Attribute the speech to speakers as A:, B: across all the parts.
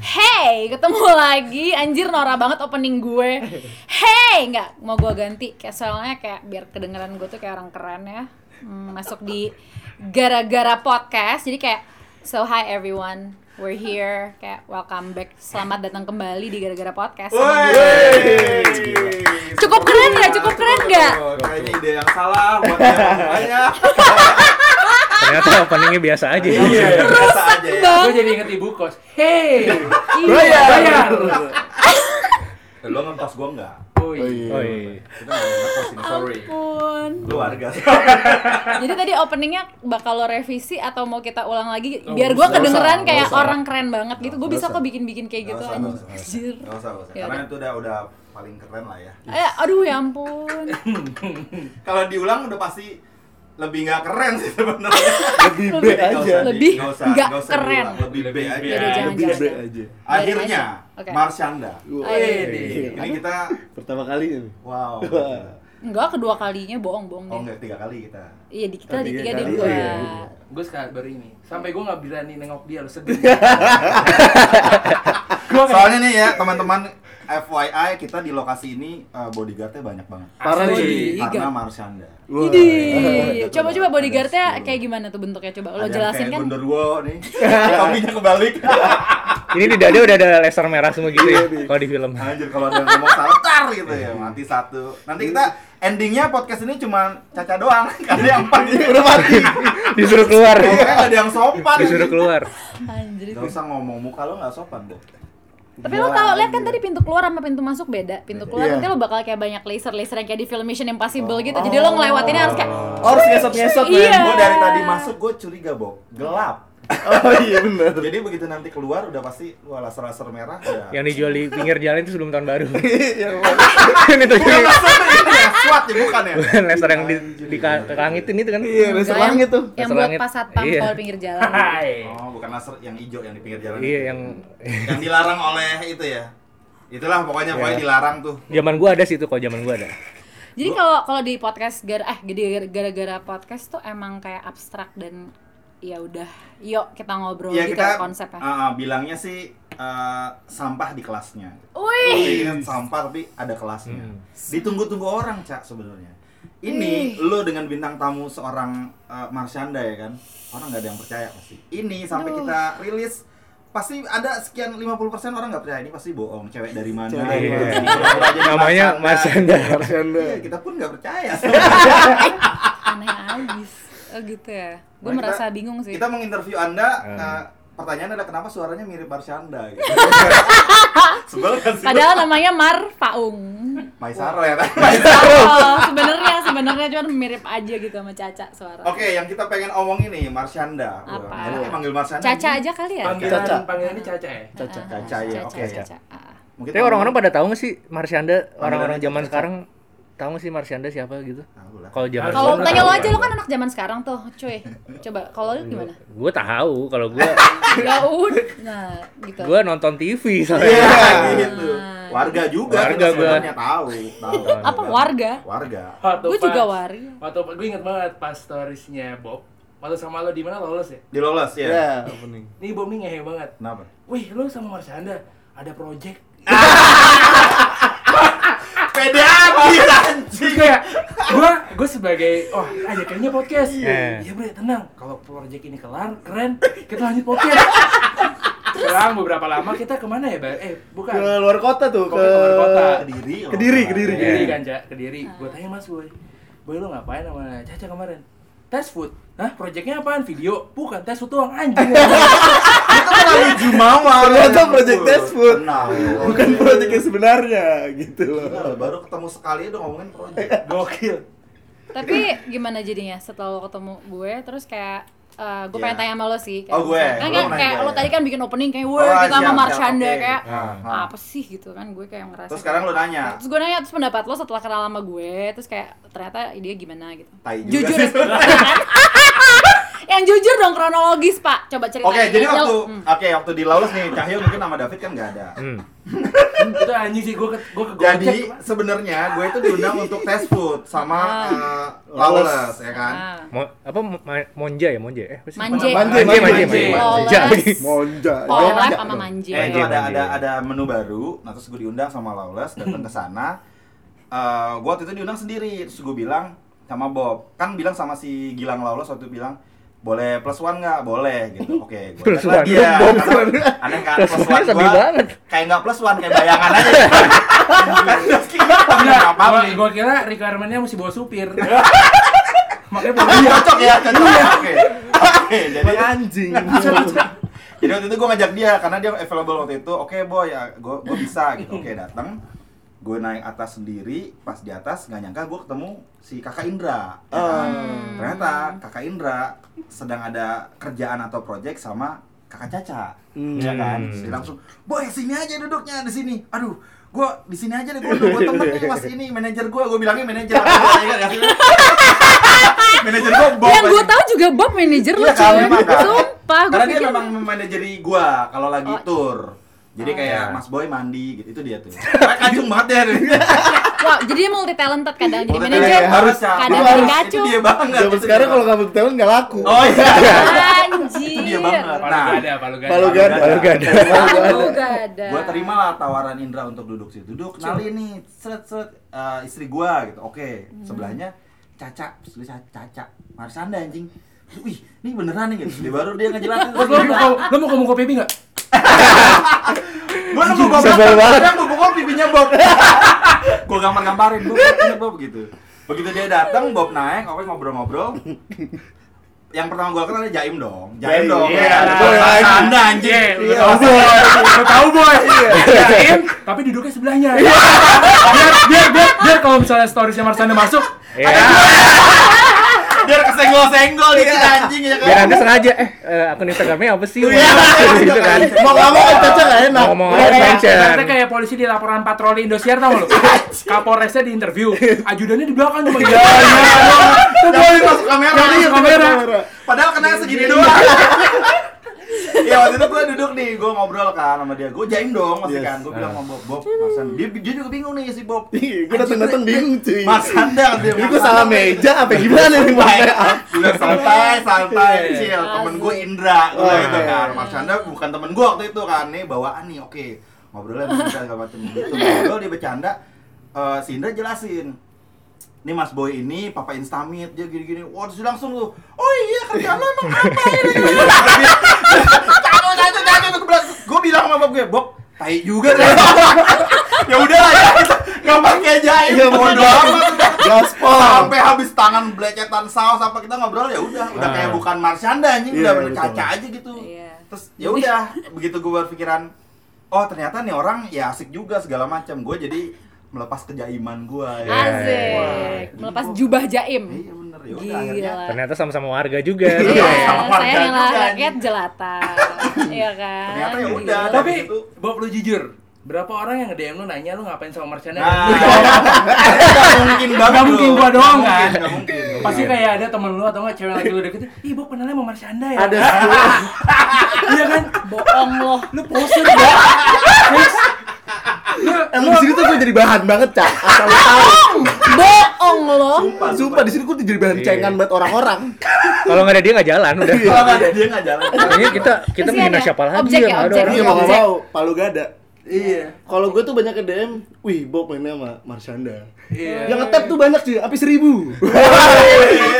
A: Hey, ketemu lagi. Anjir Nora banget opening gue. Hey, nggak mau gue ganti. Kayak soalnya kayak biar kedengeran gue tuh kayak orang keren ya. Hmm, masuk di gara-gara podcast. Jadi kayak so hi everyone, we're here. Kayak welcome back. Selamat datang kembali di gara-gara podcast. sama
B: Woi.
A: gue.
B: Gila.
A: Cukup keren nggak? Cukup keren nggak?
B: Tuh, Kayaknya ide yang salah buat namanya.
C: Ternyata openingnya biasa aja. ya.
B: Iya, biasa aja ya.
D: Gue jadi inget ibu kos. Hey,
A: Iya,
C: Bayar.
D: bayar.
B: Lo ngentos gua enggak?
D: Oh iya.
C: Oh iya.
B: Kita enggak ngentos ini, sorry.
A: Ampun.
B: Lu warga.
A: Jadi tadi openingnya bakal lo revisi atau mau kita ulang lagi
D: Oh,
A: biar gue
D: nggak usah,
A: kedengeran
C: nggak
A: kayak
C: usah.
A: orang keren banget gitu. Gue
C: Nggak
A: bisa
C: usah.
A: kok bikin-bikin kayak gitu
B: Nggak usah, nggak usah.
A: anjir.
B: Enggak usah, nggak usah.
A: Ya
B: Karena
A: udah.
B: itu udah udah paling keren lah ya.
A: Eh, aduh ya ampun.
B: Kalau diulang udah pasti lebih nggak keren sih sebenarnya.
E: lebih B aja
A: Lebih
B: Nggak usah,
A: nggak
B: nggak usah
A: keren.
B: diulang. Lebih B aja.
A: Yaudah, jangan, Eh,
E: lebih B
A: jangan.
E: aja
B: Akhirnya
A: Oke.
B: Marsyanda.
E: Iya.
B: Ini kita
E: pertama kali ini
B: wow.
A: Enggak kedua kalinya bohong-bohong
B: Oh
A: deh.
B: enggak oh, tiga kali kita.
A: Iya di kita di
E: Tiga
A: tiga di
E: kali,
A: dua.
E: iya.
D: Gue sekarang baru ini. Sampai gue nggak berani nengok dia lu sedih. Gue
B: Soalnya nih ya teman-teman FYI kita di lokasi ini eh, bodyguardnya banyak banget.
D: Ah,
E: parah
D: Asli.
E: nih
B: Karena Marsyanda.
E: Wah.
A: Jadi,
B: Iya.
A: coba-coba
B: Ada
A: bodyguardnya
B: sepuluh.
A: kayak gimana tuh bentuknya coba lo
B: Ada yang
A: jelasin
B: kayak
A: kan?
B: Gondorwo nih. Topinya kebalik.
C: Ini di dada udah ada laser merah semua gitu
E: Iya,
C: ya kalau di film.
B: Anjir kalau ada yang ngomong salah tar gitu ya. Mati satu. Nanti kita endingnya podcast ini cuma caca doang. Karena yang paling udah mati. Iya.
C: Disuruh keluar.
E: Iya.
B: Pokoknya nggak ada yang sopan.
C: Disuruh keluar.
A: Anjir.
B: Gak usah ngomong muka lo nggak sopan deh.
A: Tapi lo tau lihat
B: iya.
A: kan tadi pintu keluar sama pintu masuk beda. Pintu keluar
E: Iya.
A: nanti lo bakal kayak banyak laser-laser yang kayak di film Mission Impossible gitu. Jadi lo ngelewatinnya harus kayak
E: Oh, harus ngesot-ngesot men.
A: Iya.
B: Gue ya, dari tadi masuk gue curiga Bob. Gelap.
E: Oh iya benar.
B: Jadi begitu nanti keluar udah pasti wah laser-laser merah. udah.
C: Yang dijual di pinggir jalan itu sebelum tahun baru.
E: Iya.
C: Ini tuh
B: Bukan laser ini ya, SWAT ya bukan ya.
C: bukan laser yang di, di ka- langitin itu kan.
E: Iya,
A: Enggak,
E: laser
A: yang-
E: langit tuh.
A: Yang
C: Laser
A: buat
C: langit.
A: pas satpam
C: Iya.
A: kalau pinggir jalan.
D: Hai.
B: Oh, bukan laser yang hijau yang di pinggir jalan.
C: Iya
B: itu.
C: yang
B: yang dilarang oleh itu ya. Itulah pokoknya pokoknya
C: Iya.
B: dilarang tuh.
C: zaman gua ada sih itu kalau zaman gua ada.
A: Jadi kalau kalau di podcast gara eh gede- gara-gara podcast tuh emang kayak abstrak dan ya udah, yuk kita ngobrol
B: Iya
A: gitu
B: kita
A: konsepnya.
B: ah, ah, bilangnya sih eh, sampah di kelasnya.
A: Wih,
B: Jadi kan sampah tapi ada kelasnya.
C: Hmm.
B: Ditunggu-tunggu orang, Cak, sebenarnya. Ini lo dengan bintang tamu seorang eh, Marsyanda ya kan. Orang nggak ada yang percaya pasti. Ini sampai kita rilis pasti ada sekian 50% orang nggak percaya ini pasti bohong cewek dari mana
E: Cewek dari
B: gitu.
C: mana.
B: Jadi kalau aja di
C: Iya. Namanya
E: Iya.
C: Marsanda.
E: Marsyanda.
B: Iya, kita pun nggak percaya
A: aneh abis. Oh gitu ya. Gue
B: Nah,
A: merasa
B: kita-
A: bingung sih.
B: Kita menginterview Anda,
C: Hmm.
B: nah, pertanyaannya adalah kenapa suaranya mirip Marsyanda gitu. Sebel kan sih?
A: Padahal namanya Mar Faung.
B: Maisaro ya. kan?
A: Oh, sebenarnya sebenarnya cuman mirip aja gitu sama Caca suara.
B: Oke, yang kita pengen omongin nih Marsyanda. Wah,
A: Apa?
B: enak ya manggil Marsyanda.
A: Caca aja kali ya.
D: Panggilan
E: Caca.
D: panggilannya Caca ya.
E: Caca.
B: Caca ya, oke ya.
A: Caca. Ah.
B: Mungkin
C: Tapi orang-orang pada tahu nggak sih Marsyanda
B: Panggilannya
C: orang-orang zaman
B: Caca.
C: sekarang tahu nggak sih Marsyanda siapa gitu?
B: Tahu lah.
C: Kalau zaman
A: Kalau
D: Gua
A: tanya
D: tahu,
A: lo aja
D: Bang.
A: lo kan anak zaman sekarang tuh, cuy. Coba kalau lo gimana?
C: Gue tahu kalau gue
A: Ya udah. Nah, gitu.
C: gue nonton TV soalnya.
B: Iya, gitu. Warga juga
C: Warga
B: kita
C: gua.
B: sebenarnya tahu, tahu.
A: Apa warga?
B: Warga.
D: Waktu
A: Gue juga
D: pas-
A: warga.
D: Waktu gue inget banget pas storiesnya Bob. Waktu sama lo di mana lolos ya?
B: Dilolos ya.
E: Ya, opening.
D: Nih Bob nih ngehe banget.
B: Kenapa?
D: Wih, lo sama Marsyanda ada project.
B: Pede abis
D: Terus
B: anjing.
D: kayak gua gua sebagai oh aja kayaknya podcast.
C: Iya.
D: Iya bre tenang. Kalau project ini kelar keren kita lanjut podcast. Selang beberapa lama kita kemana ya Bar? Eh bukan.
E: Ke luar kota tuh,
D: Kopi
E: ke
D: keluar kota.
B: Kediri. loh. Iya.
E: Kediri, Kediri.
D: Kediri kan Cak, Kediri. Gua tanya Mas Boy. Boy lu ngapain sama Caca kemarin? Tes food. Hah, projectnya apaan? Video? Bukan, tes food doang anjing.
B: Itu kan Ali Jumawa. kan?
E: Ternyata project test food.
B: Tenang.
E: Bukan proyek yang sebenarnya gitu
B: Bener,
E: loh.
B: Iya. baru ketemu sekali udah ngomongin proyek.
D: Gokil.
A: Tapi gimana jadinya setelah lo ketemu gue terus kayak eh, gue
B: Iya.
A: pengen tanya sama lo sih kayak
B: Oh, gue.
A: misalnya- kan,
B: Lo
A: kan
B: nanya
A: kayak
B: gue,
A: lo
B: ya.
A: tadi kan bikin opening kayak wah
B: Oh,
A: kita sama
B: siap,
A: Marshanda
B: siap, oke.
A: kayak
B: Ah, ah.
A: apa sih gitu kan gue kayak ngerasa
B: Terus sekarang lo nanya.
A: terus gue nanya terus pendapat lo setelah kenal sama gue terus kayak ternyata dia gimana gitu
B: Tai juga
A: jujur
B: sih.
A: yang jujur dong kronologis pak coba ceritain
B: Oke, jadi
A: Yang-
B: waktu
A: Hmm.
B: oke waktu di Laulus nih Cahyo mungkin sama David kan nggak ada.
C: Hmm.
D: itu anjing sih gue ke gue ke
B: Jadi sebenarnya gue itu diundang untuk test food sama
A: Ah.
B: eh, Lawless ya kan.
A: Ah.
C: Mo- apa mo- ma- monja ya monja eh apa sih?
A: Manje.
E: Manje,
C: manje manje
E: manje.
C: manje
A: Lolos.
C: Monja.
E: Monja.
A: Polep sama manje.
B: Nah, itu
C: Manje,
B: ada
C: manje.
B: ada ada menu baru. Nah, terus gue diundang sama Lawless datang ke sana. Eh, gue waktu itu diundang sendiri. Terus gue bilang sama Bob, kan bilang sama si Gilang Lawless waktu itu bilang boleh plus one nggak? Boleh gitu. Oke, gue
C: Plus
B: chat lagi
C: one,
B: ya.
C: Bob.
B: Karena Aneh kan
C: Plus
B: plus
C: one
B: one
C: sedih
B: gua
C: banget.
B: Kayak nggak plus one kayak bayangan aja. Terus kita
D: Enggak,
B: apa
D: gua,
B: nih?
D: gua kira requirement-nya mesti bawa supir. Makanya bawa
B: Tapi cocok ya, cocok. Oke. Oke, jadi
E: anjing.
B: Jadi waktu itu gue ngajak dia karena dia available waktu itu. Oke boy, ya gue gue bisa gitu. Oke datang, gue naik atas sendiri. Pas di atas nggak nyangka gue ketemu si kakak Indra. ya kan? Ternyata kakak Indra sedang ada kerjaan atau project sama kakak Caca, ya kan? Terus dia langsung, boy sini aja duduknya di sini. Aduh, gue di sini aja deh gue gue temen nih mas ini manajer gue gue bilangnya manajer manajer gue Bob
A: Yang gue
B: pasti.
A: tahu juga Bob manajer lu
B: Iya kan,
A: cuy.
B: memang kan.
A: Sumpah gue
B: Karena dia
A: pikir
B: memang memanajeri gua kalau lagi
A: Oh.
B: tour. Jadi
A: Oh.
B: kayak
C: Iya.
B: Mas Boy mandi gitu itu dia tuh. Kayak kacung banget ya.
A: wah jadi dia multi talented kadang jadi
B: Multi
A: manajer,
B: talented, ya, harus, Cak.
A: kadang
E: Itu
A: jadi
E: harus,
B: Itu
A: kacung.
B: dia banget.
E: Zaman
B: itu dia
E: sekarang kalau
B: banget.
E: nggak bertahun nggak laku.
B: Oh iya.
A: Anjir.
B: Itu dia banget.
D: Palu
B: Nah,
D: gada, palu gada.
E: Palu gada.
C: Baru gak ada.
A: Aduh, gak ada.
B: gua terima lah tawaran Indra untuk duduk situ. Duduk, kenalin nih, seret seret eh, istri gua gitu. Oke,
A: Hmm.
B: sebelahnya Caca, terus tulis Caca. Marsanda anjing. Terus, Wih, ini beneran nih gitu. Dia baru dia ngejelasin.
D: Terus Lo mau lo mau ngomong kopi enggak?
B: Gua nunggu Bob
C: Sebel
B: datang,
C: banget.
B: kadang gua pukul pipinya Bob Gua gambar-gambarin, Bob, ini Bob gitu Begitu dia datang, Bob naik, oke ngobrol-ngobrol Yang pertama gua kenal dia Jaim dong Jaim
E: Jaim,
B: dong,
E: iya.
B: Boy,
E: Iya.
B: Anda anjing
D: Iya,
B: Lu
E: kan?
B: tahu, Lu tahu boy
E: Iya.
D: Yakin? Tapi duduknya sebelahnya.
B: Iya.
D: biar biar biar, biar kalau misalnya storiesnya Marsanda masuk,
C: Ya,
B: Iya. Biar kesenggol-senggol dikit
E: Iya.
B: anjing ya kan
C: biar anda sengaja eh eh, akun Instagramnya apa sih?
B: Iya,
C: gitu kan.
E: Mau nggak mau kan caca nggak enak. Iya.
C: Mau ngomong
E: Udah
C: apa
E: kayak-
C: mention.
D: Ternyata kayak polisi di laporan patroli Indosiar tau lu Kapolresnya di interview Ajudannya di belakang cuma gitu
B: Yang penting masuk kamera
D: Yang penting kamera.
B: Padahal kena segini
E: Iya.
B: doang Ya waktu itu gue duduk nih, gue ngobrol kan sama dia Gue jaim dong pasti
E: Yes.
B: kan, gue bilang sama Bob Bob, Marsan Dia, dia juga bingung nih si Bob
E: Iya, gue datang-datang bingung cuy.
B: Mas Sandang dia
E: Ini gue salah meja apa gimana nih Mas?
C: ya.
B: Udah santai, santai, chill.
A: Asik.
B: Temen gue Indra, gue
E: Oh,
B: gitu
E: iya.
B: kan. Mas Chandra bukan temen gue waktu itu kan. Nih bawaan nih, oke. Ngobrolnya bisa segala macem gitu. Ngobrol dia bercanda. Eh, si Indra jelasin. Nih Mas Boy ini papa instamit dia gini-gini. Wah, terus dia langsung tuh. Oh iya, kerjaan lo emang apa ini? Caco, caco, caco. Gue bilang- Gue bilang sama Bob gue, Bob, tai juga deh. ya udah lah ya, kita nggak pakai jahit.
E: Iya,
B: Bodo amat.
E: Gaspol.
B: sampai habis tangan belecetan saus apa kita ngobrol ya udah udah
C: Ah.
B: kayak bukan Marsyanda anjing
E: Iya,
B: udah bener
E: betul.
B: caca aja gitu
A: Iya.
B: terus ya udah begitu gue berpikiran oh ternyata nih orang ya asik juga segala macam gue jadi melepas kejaiman gue ya.
A: Asik. Melepas jubah jaim.
B: iya bener ya udah akhirnya
A: Gila.
C: Ternyata sama-sama warga juga.
A: Iya,
B: Sama warga
A: saya yang
B: juga,
A: rakyat jelata. Iya kan?
B: Ternyata ya
A: Gila.
B: udah.
D: Tapi
B: Itu.
D: Bob lu jujur Berapa orang yang nge-DM lu nanya lu ngapain sama Marsanda
B: nah nggak mungkin banget
D: Nggak mungkin
B: loh.
D: gua doang,
B: Nggak
D: kan?
B: mungkin, nggak mungkin
D: Pasti kayak ada temen lu atau nggak cewek lagi lu deketin Ih Bob kenalnya sama Marsanda ya
E: Ada
D: Iya kan?
A: bohong loh.
D: Lu posen ya
E: Emang di sini tuh gue jadi bahan banget, Cak. Asal lu tahu.
A: Bohong loh.
B: sumpah
E: Sumpah di sini gue jadi bahan
C: Iya.
E: cengan buat orang-orang.
C: Kalau nggak ada dia nggak jalan udah.
E: Iya.
B: kalau nggak ada dia nggak jalan
C: Kayaknya kita kita
A: Kasihan
C: menghina
A: ya.
C: siapa lagi
A: Objek
C: yang
A: ya,
C: nggak ada
A: objek.
C: orang.
E: Iya, mau nggak
A: Objek.
E: mau, palu gada.
D: Iya
E: Kalau gue tuh banyak ke DM, wih Bob mainnya sama Marsyanda.
D: Iya
E: Yang ngetap tuh banyak cuy, hampir seribu.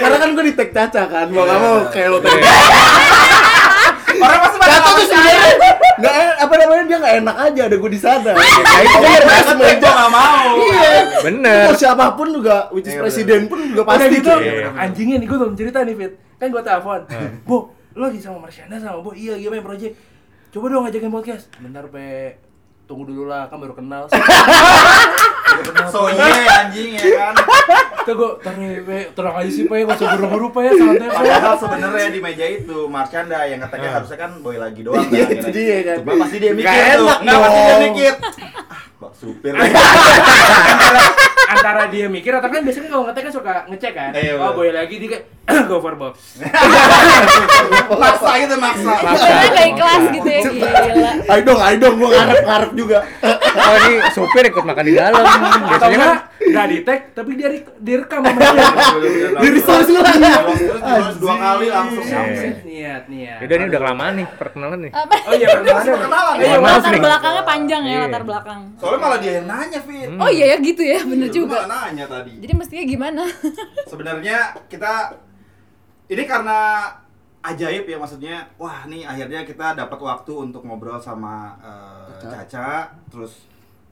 E: Karena kan gue di tag Caca kan, mau nggak mau kayak lo tadi.
B: orang pasti pada
E: Caca tuh
B: ngomong,
E: sebenarnya nggak en- apa namanya dia nggak enak aja ada gue di sana.
C: Nah, itu bener
B: "Ah,
C: Mas.
B: gue nggak mau
E: Iya.
C: Bener.
E: Mau siapapun juga, which is
B: Iya, bener.
E: presiden pun juga
D: Udah
E: pasti
D: gitu,
E: cuy.
C: Iya, bener-bener.
D: anjingnya nih gue belum cerita nih Fit Kan gue telepon, Bo, lo lagi sama Marsyanda sama Bo, iya lagi main project Coba dong ngajakin podcast Bentar Pe, tunggu dulu lah, kan baru kenal
B: so iya anjing ya kan
D: Tuh gue, tarik Pe, tenang aja sih Pe, gak usah buru-buru Pe, ya, santai Pe
B: Padahal sebenarnya di meja itu Marsyanda yang ngeteknya harusnya kan boy lagi doang.
E: Iya,
B: kan,
E: itu
B: akhirnya.
E: dia kan.
B: Cuma pasti dia mikir Ah,
E: Nggak
B: tuh.
E: enak
B: Nggak pasti dia
E: dong.
B: mikir. Ah, kok supir.
D: antara dia mikir atau kan biasanya kalau ngetek kan suka ngecek kan
B: Iya,
D: oh
B: betul.
D: boy lagi dia kayak go for box
C: Iya,
B: maksa gitu maksa
A: Sebenarnya gak ikhlas gitu ya gila.
E: Aidong, Aidong, gua ngarep-ngarep juga.
C: Oh ini supir ikut makan di dalam.
D: atau
C: Biasanya kan Iya.
D: enggak nggak di tag tapi dia re- direkam sama dia
E: Diri soal ulang ya.
B: Terus terus dua kali langsung nyampe
C: Iya.
D: niat niat
C: Yaudah ini udah kelamaan nih perkenalan nih.
A: Apa?
D: oh iya pernah
B: Masih perkenalan ya?
C: Iya, maaf
A: latar
C: nih.
A: kan belakangnya panjang ya
C: Iya.
A: latar belakang.
B: soalnya malah dia yang nanya Fit
A: Oh iya ya gitu ya, bener
B: Lu
A: juga.
B: malah nanya tadi
A: Jadi mestinya gimana?
B: sebenarnya kita ini karena ajaib ya maksudnya wah nih akhirnya kita dapat waktu untuk ngobrol sama eh,
E: Caca.
B: Caca terus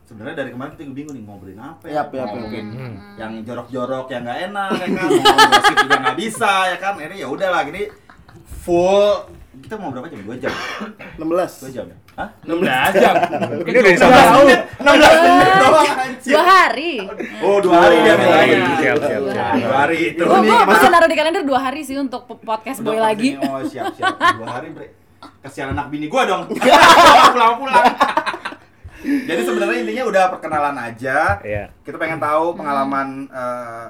B: sebenarnya dari kemarin kita bingung nih ngobrolin apa ya
E: Yap, yap, yap,
B: mungkin yang jorok-jorok yang nggak enak ya kan mau ngomong gosip juga nggak bisa ya kan ini ya udahlah gini full kita mau berapa jam dua jam dua
E: 16.
B: jam ya Hah?
D: 16 jam
C: Ini udah disambung.
B: enam belas menit doang anjir
A: Dua hari.
B: oh dua hari dia main lagi
C: Siap, siap, siap.
B: dua hari itu
A: Gue
E: nih,
A: gue
E: masa-
A: naruh di kalender dua hari sih untuk po- podcast boy
B: Udah,
A: lagi.
B: maksudnya, Oh siap siap. Dua hari bre. Kasihan anak bini gua dong. pulang pulang. Jadi sebenarnya intinya udah perkenalan aja.
C: Iya.
B: Kita pengen tahu
A: Hmm.
B: pengalaman eh,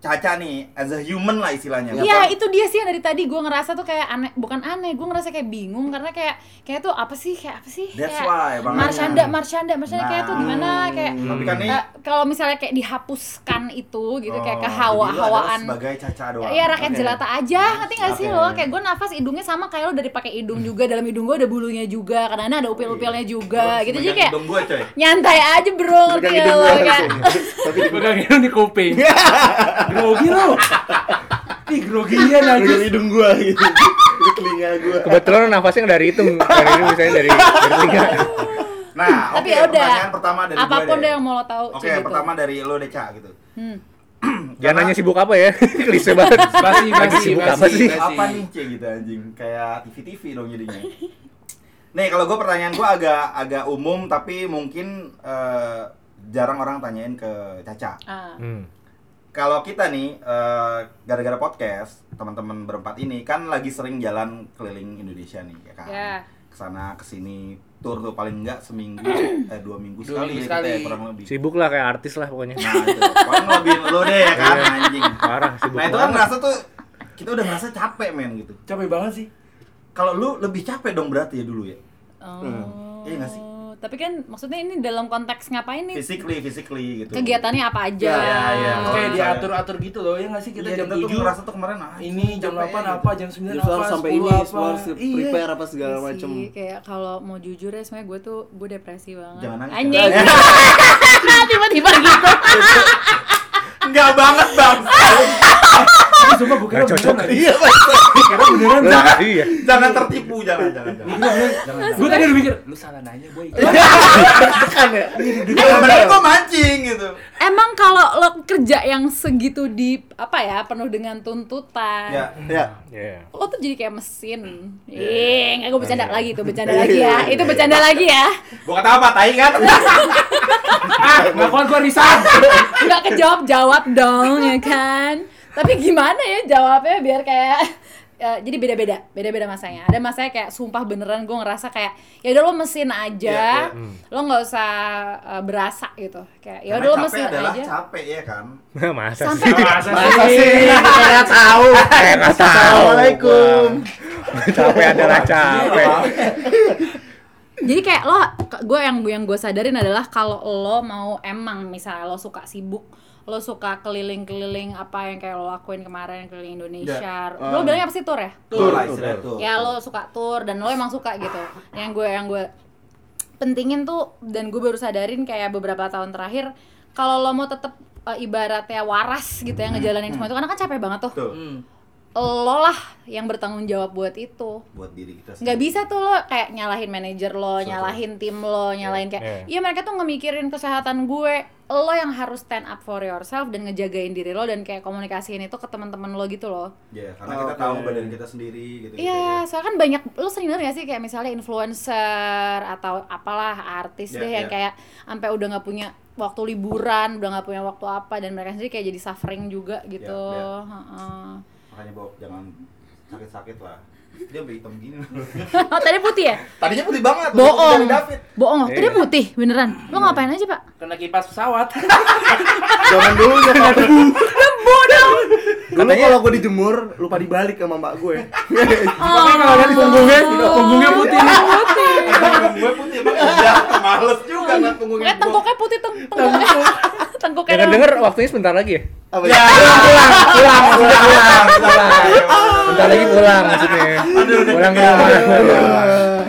B: Caca nih as a human lah istilahnya.
A: Iya
B: Bukan-
A: itu dia sih yang dari tadi gue ngerasa tuh kayak aneh bukan aneh gue ngerasa kayak bingung karena kayak kayak tuh apa sih kayak apa sih
B: That's
A: kayak
B: why, makanya.
A: marsyanda marsyanda marsyanda kayak tuh
B: Nah,
A: gimana kayak
B: Tapi kan nih
A: eh, kalau misalnya kayak dihapuskan itu gitu kayak
B: oh, jadi lu adalah
A: kehawa-hawaan
B: sebagai Caca doang.
A: Iya rakyat jelata aja, ngerti gak sih
B: Oke.
A: lo? Kayak gue nafas hidungnya sama kayak lo dari pakai hidung juga, dalam hidung gue ada bulunya juga, karena ada upil-upilnya juga, gitu jadi kayak
B: Dong Iya. gua coy.
A: nyantai aja bro, ngerti
B: gitu
A: gak lo? Kayak,
D: pegang hidung di kuping
C: Ya.
D: grogi lo ih grogian aja
E: Dari hidung gua gitu. Dari telinga gua.
C: Kebetulan nafasnya dari itu, dari itu misalnya dari dari tiga.
B: Nah,
A: Tapi
B: oke,
A: ya udah,
B: pertanyaan pertama dari gua
A: apapun
B: deh.
A: deh yang mau lo tahu.
B: Oke,
A: kayak gitu.
B: pertama dari lo deh, Ca gitu.
A: Hmm.
C: Jangan nanya sibuk apa ya, klise banget.
D: basi
C: Lagi
D: basi
C: sibuk apa
D: basi
C: sih?
B: apa nih cie gitu anjing kayak TV TV dong jadinya nih kalau gue pertanyaan gue agak agak umum tapi mungkin eh, jarang orang tanyain ke Caca
A: Ah.
C: Hmm.
B: kalau kita nih eh, gara-gara podcast teman-teman berempat ini kan lagi sering jalan keliling Indonesia nih ya kan
A: Ya.
B: kesana kesini tur tuh paling enggak seminggu eh dua minggu
D: Dua
B: sekali ya
D: minggu
B: kita ya,
D: sekali.
B: kurang lebih
C: Sibuk lah kayak artis lah pokoknya.
B: nah itu paling lebih lo deh ya kan
C: Iya.
B: anjing
C: Parah sibuk.
B: nah itu kan
C: banget.
B: ngerasa tuh kita udah ngerasa capek men gitu
D: capek banget sih
B: kalau lu lebih capek dong berarti ya dulu ya
A: Oh.
B: Iya nggak sih?
A: Tapi kan maksudnya ini dalam konteks ngapain nih?
B: physically physically gitu
A: Kegiatannya apa aja?
B: Ya, ya, ya.
D: kayak
B: Misalnya.
D: diatur-atur gitu loh ya nggak sih kita
B: Iya, kita
D: Oh, jam
B: tuh
D: 7
B: ngerasa tuh kemarin ah,
D: ini jam
B: capek
D: 8
B: gitu.
D: apa jam 9
E: Jadi
D: apa
E: harus sampai
D: 10
E: ini,
D: apa Iya.
E: semua harus prepare apa segala
A: Iya
E: macem.
A: sih, kayak kalau mau jujur ya sebenarnya gue tuh gue depresi banget.
B: Jangan nangis. ya.
A: Anjing. Tiba-tiba gitu.
B: enggak banget bang
D: tapi sumpah gue kira
C: Nggak cocok.
D: beneran
E: Iya, Pak.
D: kira beneran
C: Lah, Iya.
B: jangan tertipu jangan jangan jangan
D: gue tadi udah mikir lu salah nanya boy
E: Tekan ya.
B: sebenarnya gua mancing gitu
A: Emang kalau lo kerja yang segitu di apa ya penuh dengan tuntutan,
B: ya Iya,
E: Ya.
C: Iya.
A: lo tuh jadi kayak mesin. Ih, nggak gue bercanda lagi tuh, bercanda lagi ya. Itu bercanda lagi ya.
B: gua kata apa tai kan
D: ah ngakuan gue risan
A: Nggak kejawab jawab dong ya kan. Tapi gimana ya jawabnya biar kayak ya, jadi beda-beda, beda-beda masanya. Ada masanya kayak sumpah beneran gue ngerasa kayak ya udah lo mesin aja,
B: Iya,
A: lo nggak usah eh, berasa gitu. Kayak ya
B: Karena
A: udah lo
B: capek
A: mesin
B: adalah
A: aja.
B: capek ya kan
C: Nah, Masa sih?
A: Sampai
D: masa
E: Masa sih? Saya tahu.
C: Eh, nggak tahu.
E: Assalamualaikum.
C: Capek adalah capek.
A: jadi kayak lo gue yang yang gue sadarin adalah kalau lo mau emang misalnya lo suka sibuk lo suka keliling-keliling apa yang kayak lo lakuin kemarin keliling
B: Iya.
A: Indonesia lo bilangnya apa sih tour ya
B: tuh lah istilah tuh
A: ya lo suka tour dan lo emang suka gitu yang gue yang gue pentingin tuh dan gue baru sadarin kayak beberapa tahun terakhir kalau lo mau tetap ibaratnya waras gitu ya ngejalanin semua itu karena kan capek banget tuh
B: tuh
D: Hmm,
A: lo lah yang bertanggung jawab buat itu
B: buat diri kita
A: nggak bisa tuh lo kayak nyalahin manajer lo, nyalahin tim lo, nyalahin kayak iya mereka tuh ngemikirin kesehatan gue. Lo yang harus stand up for yourself dan ngejagain diri lo dan kayak komunikasiin itu ke teman-teman lo gitu loh.
B: ya karena kita tahu badan kita sendiri gitu
A: Iya, soalnya kan banyak lo sering denger gak sih kayak misalnya influencer atau apalah artis
B: Iya,
A: deh yang kayak
B: iya.
A: sampai udah nggak punya waktu liburan, udah nggak punya waktu apa dan mereka sendiri kayak jadi suffering juga gitu.
B: Iya, iya.
A: Heeh.
B: makanya Bob jangan sakit-sakit lah. Dia sampai hitam gini. loh.
A: oh tadi putih ya
B: Tadinya putih banget. lebih putih
A: bohong
B: dari David.
A: bohong tadi
C: Iya.
A: putih beneran lo ngapain aja pak
D: Kena kipas pesawat.
B: Zaman dulu ya
E: Dulu kalau gue dijemur lupa dibalik sama mbak gue.
A: oh
E: Kalau lihat di punggungnya, punggungnya putih.
A: putih
B: gue putih banget.
C: Iya.
B: Ya, males juga kan punggungnya.
A: Kayak Eh, tengkuknya putih teng tengkuknya tengkuknya
C: Dengar dengar waktunya sebentar lagi ya.
E: Apa
B: Ya,
C: Pulang, pulang, pulang, pulang.
B: pulang.
C: Bentar lagi pulang maksudnya. Pulang ke rumah.
B: Ya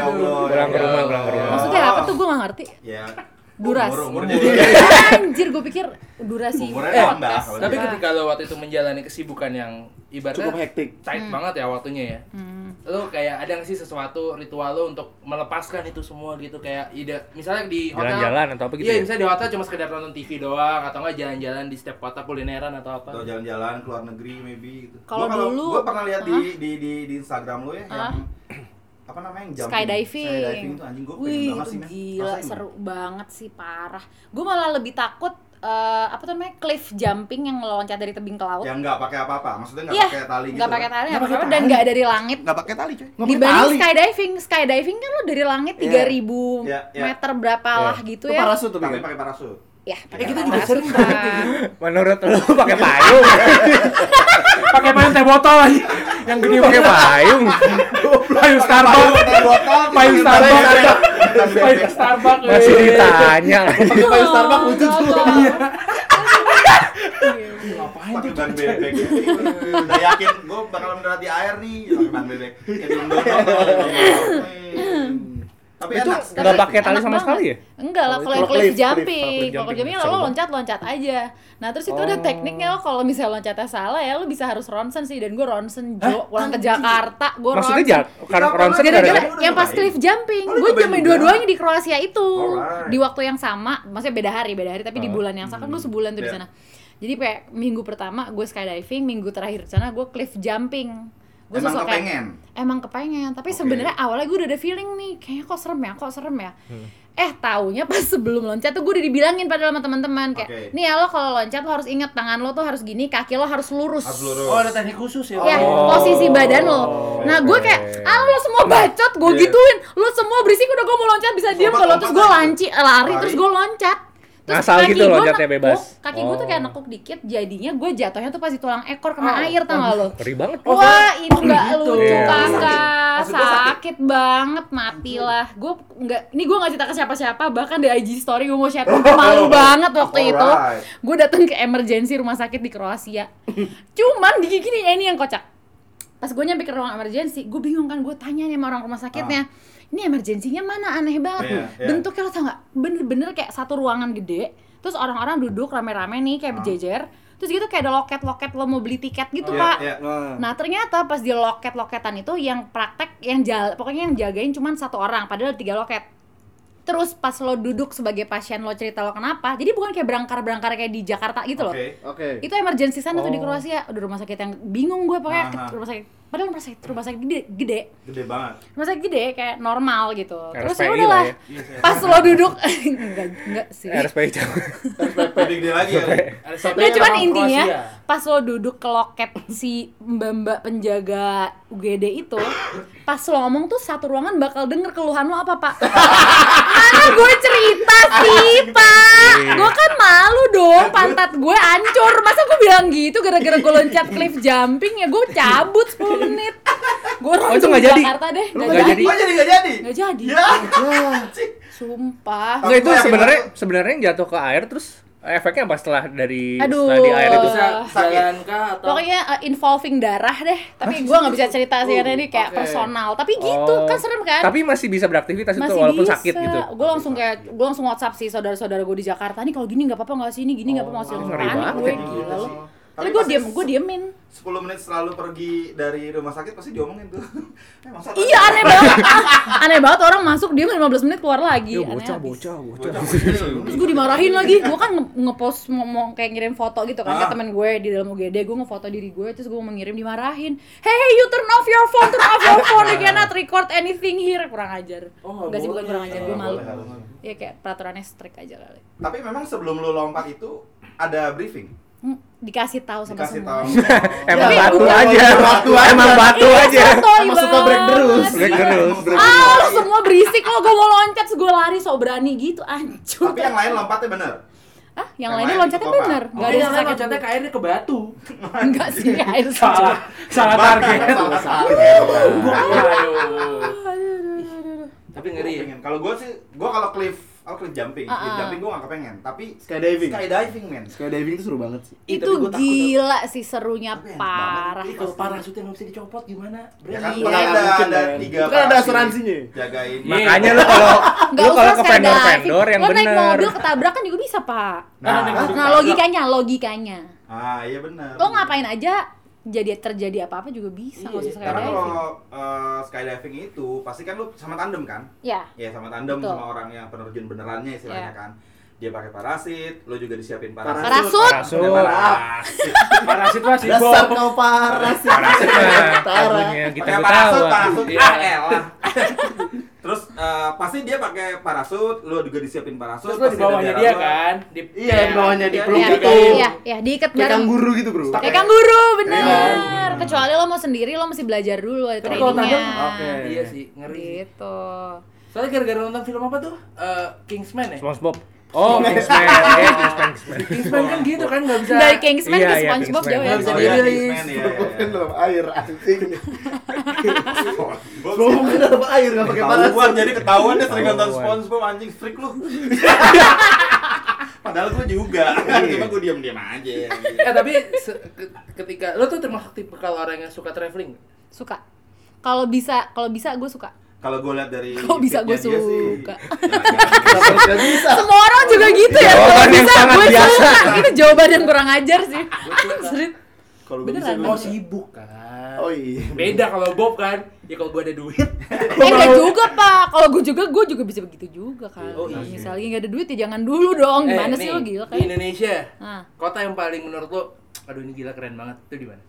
B: Allah,
C: Pulang ke
B: ya
C: rumah,
B: Allah.
C: pulang ke rumah. Iya.
A: maksudnya apa tuh gue gak ngerti
B: Ya.
A: duras
B: Umur, umur jadi.
A: anjir gue pikir durasi
B: Umurnya
D: Eh,
B: nambah.
A: podcast.
B: kalau
D: Tapi
B: gitu.
D: ketika lo waktu itu menjalani kesibukan yang ibaratnya
E: Cukup hektik.
D: tight banget ya waktunya ya.
A: Hmm.
D: Lo kayak ada nggak sih sesuatu ritual lo untuk melepaskan itu semua gitu kayak ide misalnya di hotel
C: Jalan-jalan atau apa gitu
D: Iya,
C: ya?
D: misalnya di hotel cuma sekedar nonton TV doang atau nggak jalan-jalan di setiap kota kulineran atau apa.
B: atau jalan-jalan ke luar negeri maybe gitu.
A: Kalau
B: Gua
A: dulu-
B: gua pernah lihat di, di di di Instagram lo ya yang apa namanya yang jumping.
A: skydiving.
B: Skydiving tuh anjing gua pengen
A: Wih,
B: banget
A: itu
B: sih, men.
A: gila
B: Rasain,
A: seru banget sih parah. Gue malah lebih takut eh, apa tuh namanya cliff jumping yang loncat dari tebing ke
B: men.
A: laut.
B: Yang enggak pakai apa-apa, maksudnya enggak
A: Iya,
B: pakai tali Ya, gitu.
A: nggak pakai tali,
E: Nggak
A: nggak
E: pakai
A: apa-apa, dan
E: tali.
A: nggak dari langit.
B: Enggak pakai tali, cuy.
A: Dibanding skydiving, skydiving kan lo dari langit
E: Iya.
A: 3000
B: Iya, iya.
A: meter berapa lah gitu
E: Itu
A: ya.
E: parasut tuh,
B: Tapi
E: Bang.
B: pakai parasut.
A: Ya,
D: Eh, kita juga
A: parasut,
D: sering
A: Pak.
C: Menurut lu pakai payung,
D: Pakai payung teh botol aja.
C: yang gede pakai payung.
D: payung
B: Payung
D: Starbucks.
B: pakai botol,
D: Payung
B: kita
D: Starbucks.
B: bebek. Kita bebek.
D: Payung Starbucks.
C: Masih
D: weh.
C: ditanya.
E: Pakai payung Starbucks lucu
A: Oh,
E: tuh.
A: apa-apa.
D: Ngapain
B: Pakai
D: tuh?
B: ban bebek. Udah yakin gua bakal mendarat di air nih, pakai ban bebek. Kayak di Indonesia. Tapi
C: Itu
B: enak.
C: nggak
A: Tapi
C: pakai tali
A: enak
C: sama
A: banget.
C: sekali ya?
A: Enggak lah,
E: Kalau
A: kalau
E: itu
A: yang cliff
E: cliff, cliff.
A: jumping,
C: Kalau cliff
A: kalau cliff
C: jumping,
A: jumping lo
C: seru.
A: loncat-loncat aja. Nah, terus itu ada
C: Oh.
A: tekniknya lo kalau misalnya loncatnya salah ya lo bisa harus ronsen sih dan gue ronsen Jo,
D: Hah?
A: pulang ke Jakarta, gue
C: Maksudnya
A: ronsen.
C: jat, karena
B: Kenapa lu
C: ronsen gara
A: Gara-gara
B: Lu udah
A: yang pas
B: cobain?
A: cliff jumping,
B: Oh, lu
A: gue
B: cobain
A: jumpin
B: juga?
A: dua-duanya di Kroasia itu
B: Alright.
A: di waktu yang sama, maksudnya beda hari, beda hari tapi di
C: Oh.
A: bulan yang sama kan gue sebulan tuh di
B: Iya.
A: sana. Jadi kayak minggu pertama gue skydiving, minggu terakhir di sana gue cliff jumping. Gue
B: Emang
A: sosok kayak-
B: kepengen.
A: emang kepengen tapi
B: Oke.
A: sebenarnya awalnya gue udah ada feeling nih kayaknya kok serem ya kok serem ya
B: Hmm.
A: eh taunya pas sebelum loncat tuh gue udah dibilangin padahal sama teman-teman kayak
B: Oke.
A: nih ya lo kalau loncat lo harus ingat tangan lo tuh harus gini kaki lo harus lurus
B: Harus lurus.
D: Oh, ada teknik khusus ya.
A: Ya,
C: Oh.
A: posisi badan lo. Nah, gue kayak, ah lo semua bacot, gue
B: Iya.
A: gituin. Lo semua berisik udah gue mau loncat bisa diem
B: Lompat,
A: kalau terus gue
B: lompat.
A: lanci, eh, lari,
B: Lari.
A: terus gue loncat. Terus
C: Ngasal
A: kaki
C: gitu
A: gua
C: loncatnya
A: nekuk,
C: bebas.
A: Kaki gue tuh
C: Oh.
A: kayak nekuk dikit, jadinya gue jatuhnya tuh pas di tulang ekor
B: Oh.
A: kena air tau gak lo?
C: Ngeri banget.
A: Wah, itu nggak lucu kakak,
C: Iya.
B: gitu. Maksud gua sakit.
A: sakit banget, matilah. Gue nggak, ini gue nggak cerita ke siapa-siapa, bahkan di IG story gue mau share, gue malu banget waktu itu.
B: Alright.
A: Gue datang ke emergency rumah sakit di Kroasia. Cuman di gigi nih, ini yang kocak. Pas gue nyampe ke ruang emergency, gue bingung kan, gue tanya nih sama orang rumah sakitnya. Ini emergensinya mana aneh banget.
B: Ah. Iya, iya.
A: Bentuknya lo tau nggak? Bener-bener kayak satu ruangan gede. Terus orang-orang duduk rame-rame nih kayak
B: Ah.
A: berjejer. Terus gitu kayak ada loket-loket lo mau beli tiket gitu
B: Iya,
A: pak.
B: iya.
A: Nah ternyata pas di loket-loketan itu yang praktek yang jal pokoknya yang jagain cuma satu orang padahal ada tiga loket. Terus pas lo duduk sebagai pasien lo cerita lo kenapa, jadi bukan kayak berangkar-berangkar kayak di Jakarta gitu loh.
B: Oke.
E: Oke.
A: Itu emergency sana tuh di
C: Oh.
A: Kroasia, udah rumah sakit yang bingung gue pokoknya
B: Aha.
A: ke rumah sakit. Padahal rumah sakit rumah sakit gede, gede.
B: Gede banget.
A: rumah sakit gede kayak normal gitu. Terus
C: RSPI
A: ya
C: lah
A: udahlah.
C: ya.
A: Pas lo duduk enggak enggak sih.
C: RSPI jauh.
B: Gede gede lagi ya.
A: Nggak,
D: Ada satu
A: cuman
D: orang ya.
A: intinya
D: Kroasia.
A: pas lo duduk ke loket si mbak-mbak penjaga UGD itu pas lo ngomong tuh satu ruangan bakal denger keluhan lo apa pak mana gue cerita sih pak
D: Iya.
A: gue kan malu dong pantat gue ancur masa gue bilang gitu gara-gara gue loncat cliff jumping ya gue cabut 10 menit gue
C: Oh,
A: langsung
C: itu nggak
A: ke
C: jadi?
A: Jakarta deh
C: Lu
A: nggak
C: nggak
A: jadi
B: Gua jadi nggak jadi.
A: nggak jadi
B: Ya.
A: sumpah
C: Enggak itu
B: Aku yakin
C: sebenarnya
B: aku-
C: sebenarnya yang jatuh ke air terus efeknya apa setelah dari
A: Aduh.
C: setelah di air itu?
D: bisa
B: Sakit.
D: jalan kah atau
A: Pokoknya uh, involving darah deh, tapi gua nggak bisa cerita sih karena ini kayak
D: Oke.
A: personal. Tapi gitu
C: Oh.
A: kan serem kan?
C: Tapi masih bisa beraktivitas itu walaupun sakit gitu.
A: Gue langsung kayak gue langsung WhatsApp sih saudara-saudara gue di Jakarta nih kalau gini nggak apa-apa nggak sih ini gini nggak apa-apa masih
C: Oh,
A: langsung
C: ngeri
A: panik
C: banget
A: gue
C: ya.
A: gila lo. Tapi
B: Tapi
A: gue
B: pasti
A: diem
B: se-
A: gue diemin.
B: 10 menit selalu pergi dari rumah sakit pasti diomongin tuh. Eh, Emang salah.
A: Iya aneh banget, Ah, aneh banget orang masuk diem 15 menit keluar lagi.
C: Iya,
A: Aneh
C: bocah,
A: abis.
C: bocah, bocah.
A: Terus
B: Terus
A: gue dimarahin lagi, gue kan nge- ngepost ngomong kayak ngirim foto gitu kan ke
B: Ah.
A: temen gue di dalam UGD Gue ngefoto diri gue, terus gue mengirim dimarahin Hey, hey, you turn off your phone, turn off your phone, you cannot record anything here Kurang ajar
D: Oh,
A: Enggak sih, bukan
D: boleh.
A: kurang ajar, gue
B: Nggak
A: Iya, malu
B: iya.
A: Iya,
B: boleh, nggak boleh.
A: Ya kayak peraturannya strict aja kali
B: Tapi memang sebelum lu lompat itu ada briefing.
A: Hmm, dikasih tahu sama
B: Dikasih
A: semua. Iya,
B: tahu.
C: Emang
A: Tapi-
C: batu aja.
E: Batu aja.
C: Emang batu
A: Iya,
C: aja.
A: sotoy
E: Emang suka break
A: banget. Nah,
E: terus.
C: Break terus.
A: Ah, lu semua berisik lo, gue mau loncat, gue lari, so berani gitu, ancur.
B: Tapi yang lain lompatnya bener.
A: Ah, yang
B: Yang
A: lainnya
B: lain
A: loncatnya
B: apa?
A: bener, nggak ada
B: Oh,
D: Mungkin
A: yang
D: yang lain
A: sakit.
D: loncatnya ke airnya ke batu.
A: Enggak sih, air
D: Salah,
A: saja.
D: salah target.
B: Salah target.
D: Gua- Aduh. Tapi
B: Gua
D: ngeri ya.
B: pengen. Kalau gue sih, gue kalau cliff, oh cliff jumping,
A: Ah, Ya,
B: cliff
A: ah.
B: jumping gue gak kepengen. Tapi
E: Skydiving.
B: skydiving men.
E: Skydiving itu seru banget sih.
D: Ih,
A: Itu
D: tapi gua takut
A: gila sih serunya
B: Tapi enak
A: parah.
D: Ih, kalau parasutnya nggak bisa dicopot gimana?
B: Ya kan,
A: Iya.
B: kalau ada,
E: Mungkin,
B: ada
E: men.
B: tiga
E: Itu kan ada
B: parasi
E: asuransinya.
B: Jagain.
D: Iya.
C: Makanya lu kalau
A: Nggak
C: lu kalau
A: usah
C: ke vendor-vendor yang
A: lo naik
C: bener.
A: mobil ketabrak kan juga bisa, Pak.
B: Nah,
D: Nah,
A: Nah, logikanya, logikanya.
B: Ah, iya benar.
A: Lo ngapain aja jadi terjadi apa-apa juga bisa
D: Iya,
A: nggak usah
B: Karena
A: skydiving.
B: kalau eh, skydiving itu pasti kan lu sama tandem kan?
A: Ya.
B: Ya sama tandem
A: Betul.
B: sama orang yang penerjun benerannya istilahnya
A: Iya.
B: kan. Dia pakai parasit, lu juga disiapin parasit.
A: Parasut.
C: Parasut.
B: Pakai parasit.
D: Parasit masih
E: Dasar kau parah sih.
C: Parasut mah
E: Parah.
C: lagunya kita
B: pakai parasut,
C: ketawa.
B: parasut.
D: Iya.
B: Ah, elah. Terus eh, pasti dia pakai parasut, lu juga disiapin parasut.
D: Terus lo di
B: pasti ada
D: bawahnya
B: jalan
D: dia
B: lu.
D: kan? Di,
E: Iya, di bawahnya di
D: Iya,
E: peluk
A: Iya,
D: iya,
E: gitu.
D: iya.
A: iya, iya, diikat
E: Kayak
A: bareng.
E: kangguru gitu, Bro.
A: Kayak kanguru, bener.
B: Kayak-
A: Kecuali lo mau sendiri, lo masih belajar dulu, ada
D: Tapi Iya. kalau
A: trainingnya.
D: tandem,
E: oke.
D: Iya sih, ngeri. sih.
A: Gitu.
D: Soalnya gara-gara nonton film apa tuh? Eh, Kingsman ya?
C: SpongeBob. Oh, Kingsman. Iya, Kingsman, Kingsman.
D: Kingsman kan gitu kan nggak bisa.
A: Dari Kingsman
C: Iya,
A: ke
C: iya,
A: SpongeBob
C: Kingsman.
A: jauh ya.
D: Nggak bisa
B: Oh, iya,
D: dirilis.
B: Kingsman, iya, iya,
E: Bukan
B: iya.
E: dalam air anjing.
B: SpongeBob sih.
E: Bukan dalam air enggak pakai parasut.
B: Ketahuan jadi ketahuan dia sering nonton
C: Ketahuan.
B: SpongeBob anjing freak lu. Padahal gue juga,
A: Iya.
B: cuma gue diam-diam aja.
D: Eh tapi se- ke- ketika lo tuh termasuk tipe kalau orang yang suka traveling.
A: Suka. Kalau bisa, kalau bisa gue suka.
B: Kalau gue lihat dari
A: Kok bisa gue
B: feednya dia sih,
A: suka?
B: jangan-jangan.
E: Kenapa nggak bisa?
A: Semua orang juga gitu ya.
C: Jawaban
A: Kalau
C: yang
A: bisa,
C: sangat
A: gue
C: biasa.
A: suka. Itu jawaban yang kurang ajar sih. Asli.
B: Kalau gue bisa
A: Beneran.
D: Mau Oh, sibuk kan.
E: Oh iya.
D: Beda kalau Bob kan. Ya kalau gua ada duit.
A: Eh enggak juga pak, kalau gue juga gue juga bisa begitu juga kan.
D: Oh, iya.
A: Misalnya nggak ada duit ya jangan dulu dong. Gimana
D: Eh,
A: sih
D: nih,
A: lo gila
D: Di
A: kan?
D: Indonesia.
A: Nah,
D: Kota yang paling menurut lo aduh ini gila keren banget. Itu di mana?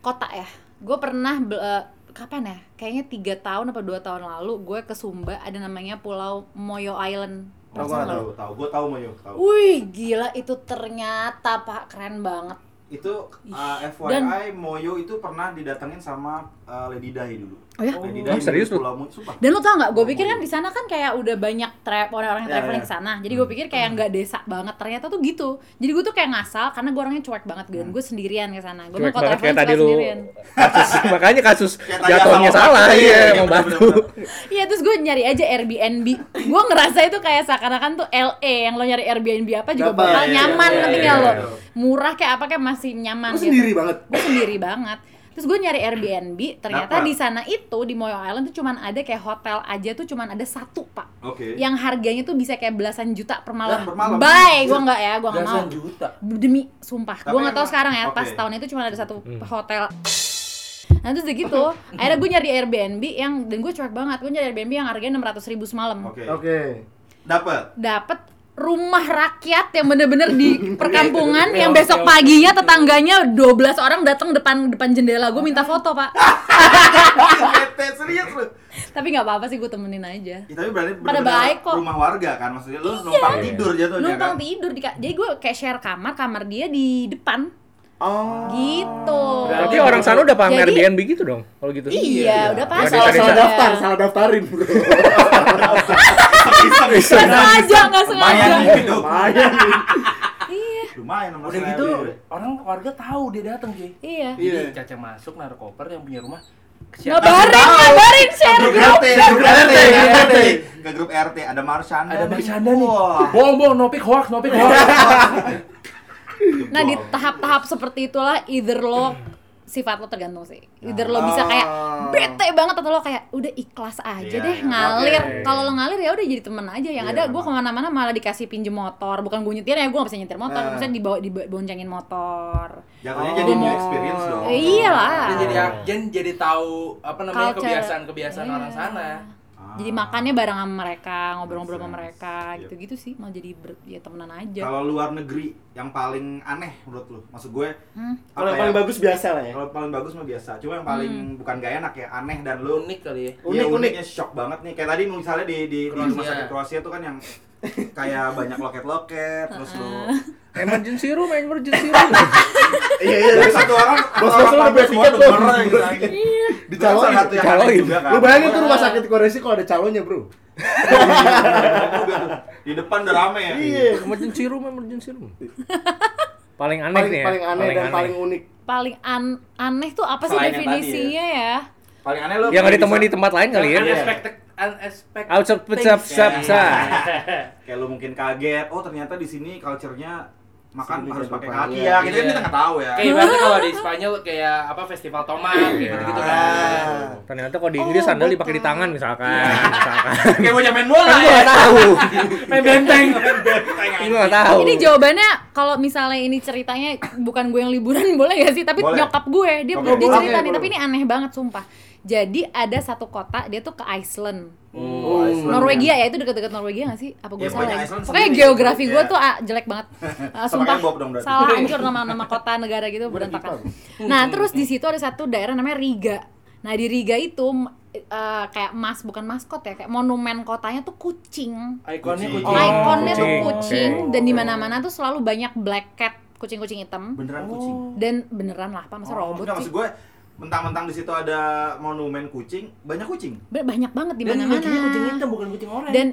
A: kota ya. Gue pernah be- eh, kapan ya? Kayaknya tiga tahun apa dua tahun lalu gue ke Sumba ada namanya Pulau Moyo Island.
B: Tahu
E: Tahu,
B: tahu tahu. Gue tahu Moyo, tahu.
A: Wih gila itu ternyata pak keren banget.
B: Itu uh, FYI Moyo itu pernah didatengin sama uh, Lady Dahi dulu.
A: Oh ya?
B: Lady
C: Oh, serius lu?
B: Pulau Moyo, sumpah.
A: Dan lo tau nggak? Gue pikir kan di sana kan kayak udah banyak trap orang-orang yang
E: Ya,
A: traveling
E: ya.
A: ke sana. Jadi gue pikir kayak nggak desa banget. Ternyata tuh gitu. Jadi gue tuh kayak ngasal karena gue orangnya cuek banget dan gue sendirian ke sana. Gue
C: Cuek
A: mau
C: banget kayak
A: traveling suka
C: tadi lu.
A: sendirian.
C: Kasus makanya kasus
B: Kayak tadi
C: jatuhnya
B: asal
C: salah
B: orang.
C: iya
B: Iya,
C: emang
B: bener-bener.
C: batu.
A: Iya terus gue nyari aja Airbnb. gue ngerasa itu kayak seakan-akan tuh LA yang lo nyari Airbnb apa juga
E: Dapat.
A: bakal
E: Iya,
A: nyaman
B: iya,
A: penting
B: iya,
A: lo.
B: iya.
A: Murah kayak apa kayak masih nyaman.
E: Lu sendiri banget.
A: Gue sendiri banget. Terus gue nyari Airbnb, ternyata
B: Dapat.
A: di sana itu di Moyo Island tuh cuman ada kayak hotel aja tuh cuman ada satu pak.
B: Oke.
A: yang harganya tuh bisa kayak belasan juta per malam.
B: Lah, per malam. Iya.
A: Bye, gua nggak ya, gua nggak mau.
D: Belasan juta.
A: Demi sumpah,
B: Tapi
A: gua nggak tahu
B: emang-
A: sekarang ya. Pas
B: oke.
A: tahun itu cuma ada satu hotel. Nah terus udah gitu, akhirnya gue nyari Airbnb yang dan gue cuek banget. Gue nyari Airbnb yang harganya enam ratus ribu semalam.
B: Oke.
E: Oke.
B: Dapat.
A: Dapet rumah rakyat yang bener-bener di perkampungan yang besok
D: Oke, oke.
A: paginya tetangganya 12 orang datang depan depan jendela gue minta foto pak
B: Bete, serius lu.
A: tapi nggak apa-apa sih gue temenin aja
B: Ya, tapi berarti
A: Pada
B: bener-bener
A: baik kok. Iya.
B: rumah warga kan maksudnya lu numpang tidur jatuhnya
A: numpang
B: kan.
A: tidur di ka- jadi gue kayak share kamar kamar dia di depan
E: Oh.
A: gitu
C: Berarti orang sana udah paham
A: Jadi-
C: Airbnb gitu dong kalau gitu.
A: iya udah
C: Iya,
A: pas
E: Salah, salah
C: Desa-desa.
E: daftar, salah daftarin, Bro.
B: Iseng-iseng.
A: nggak sengaja nggak sengaja
B: Lumayan nih gitu.
E: Lumayan nih.
A: iya
B: Lumayan Iya, enam
D: Udah gitu orang warga tahu dia datang cuy.
A: iya
D: Jadi
E: Iya.
D: Caca masuk naruh koper yang punya rumah.
A: ngabarin ngabarin share
B: Grup
A: grup
B: RT, grup RT, grup
E: Grup
B: RT.
E: RT.
B: Ke grup RT ada Marsyanda.
D: Ada
B: nih.
D: bercanda nih.
B: Wah.
D: Bohong bohong, no pick hoax, no pick hoax.
A: nah di tahap-tahap seperti itulah either lo sifat lo tergantung sih either lo bisa kayak
E: Ah.
A: bete banget atau lo kayak udah ikhlas aja
B: Oh. Iya,
A: deh
B: iya,
A: ngalir
B: oke. Iya,
A: kalau lo ngalir ya udah jadi temen aja yang ada gue kemana-mana malah dikasih pinjem motor bukan gue nyetir ya gue gak bisa nyetir motor
B: Nah.
E: Ah.
A: misalnya dibawa diboncengin motor
B: Jatuhnya
A: Oh.
B: jadi new experience dong.
A: Eh, iyalah
D: Dia jadi jadi, jadi tahu apa namanya
A: Culture.
D: kebiasaan-kebiasaan orang
A: Iya.
D: sana.
B: Ah.
A: Jadi makannya bareng sama mereka, ngobrol-ngobrol sama
B: Yes,
A: mereka,
B: yep.
A: gitu-gitu sih. Mau jadi ber- ya temenan aja.
B: Kalau luar negeri yang paling aneh menurut lu? Maksud gue
A: Hmm.
B: apa
E: Kalau yang
B: ya?
E: paling bagus biasa lah ya.
B: Kalau paling bagus mah biasa. Cuma yang paling
A: Hmm.
B: bukan gak enak ya, aneh dan lu
D: Unik kali ya.
B: unik
E: Unik, unik.
B: uniknya shock banget nih. Kayak tadi misalnya di di, di rumah
D: Kroasia.
B: sakit Kroasia tuh kan yang kayak banyak loket-loket terus lu
C: Emergency room, emergency room.
E: Iya iya.
B: Dari satu orang, atau orang
E: Bos-bos lu udah
B: tampil
E: beli
B: semua
E: tiket
B: denger
E: belum?
B: gitu aja.
E: Dicalonin,
B: Salah satu yang aneh
C: dicalonin.
B: juga kan.
E: Iya. Lu bayangin tuh rumah sakit Korea sih kalau ada calonnya, Bro.
B: Di depan udah rame ya.
E: Iya.
C: emergency room, emergency room. Paling aneh
E: Paling
C: nih ya.
E: paling aneh dan paling unik.
A: paling an- aneh tuh apa sih
B: Selain yang tadi
A: definisinya ya?
B: Paling aneh lu.
C: Yang nggak Iya, ditemuin di tempat lain kali ya.
D: Unexpected, unexpected.
C: Outside
D: things.
C: pecap sap sap.
B: Kayak lu mungkin kaget, oh ternyata di sini culture-nya makan
E: Sini
B: harus
E: pakai
B: pakai
E: depan,
B: kaki
E: iya.
B: ya. Kita kan kita nggak tahu ya.
D: Kayak ibaratnya kalau di Spanyol kayak apa festival tomat
A: Iya.
D: kayak gitu, -gitu kan.
B: Ah.
C: Ternyata kalau di Inggris sandal dipakai di tangan misalkan. misalkan.
B: Kayak mau main bola ya.
C: Kan gua nggak tahu.
D: Main benteng.
C: Gua nggak tahu.
A: Ini jawabannya kalau misalnya ini ceritanya bukan gue yang liburan boleh gak sih? Tapi
B: Boleh.
A: nyokap gue dia
B: Oke.
A: dia
B: Boleh,
A: cerita nih
E: boleh.
A: tapi ini aneh banget sumpah. Jadi ada satu kota dia tuh ke Iceland.
B: Oh, Iceland.
A: Norwegia ya itu deket-deket Norwegia gak sih? Apa gue
B: Ya,
A: salah?
B: pokoknya
A: ya?
B: Iceland
A: Pokoknya
B: sendiri.
A: geografi gue
B: Iya.
A: tuh ah, jelek banget. Ah,
B: Sama
A: sumpah
B: kayak Bob dong berarti.
A: salah hancur nama-nama kota negara gitu berantakan. Nah
D: Hmm,
A: terus di situ ada satu daerah namanya Riga. Nah di Riga itu m- eh, kayak mas bukan maskot ya kayak monumen kotanya tuh kucing.
D: Ikonnya
B: Kucing.
D: Oh, kucing.
A: Ikonnya tuh
C: kucing.
A: kucing
C: Oke.
A: dan di mana-mana tuh selalu banyak black cat kucing-kucing hitam
B: Beneran kucing.
A: dan beneran lah pak Oh, masa
B: Oh,
A: robot sih
B: enggak, maksud gue mentang-mentang di situ ada monumen kucing, banyak kucing.
A: Ba- banyak banget di
D: Dan
A: mana-mana
D: kucingnya kucing hitam bukan kucing oranye.
A: dan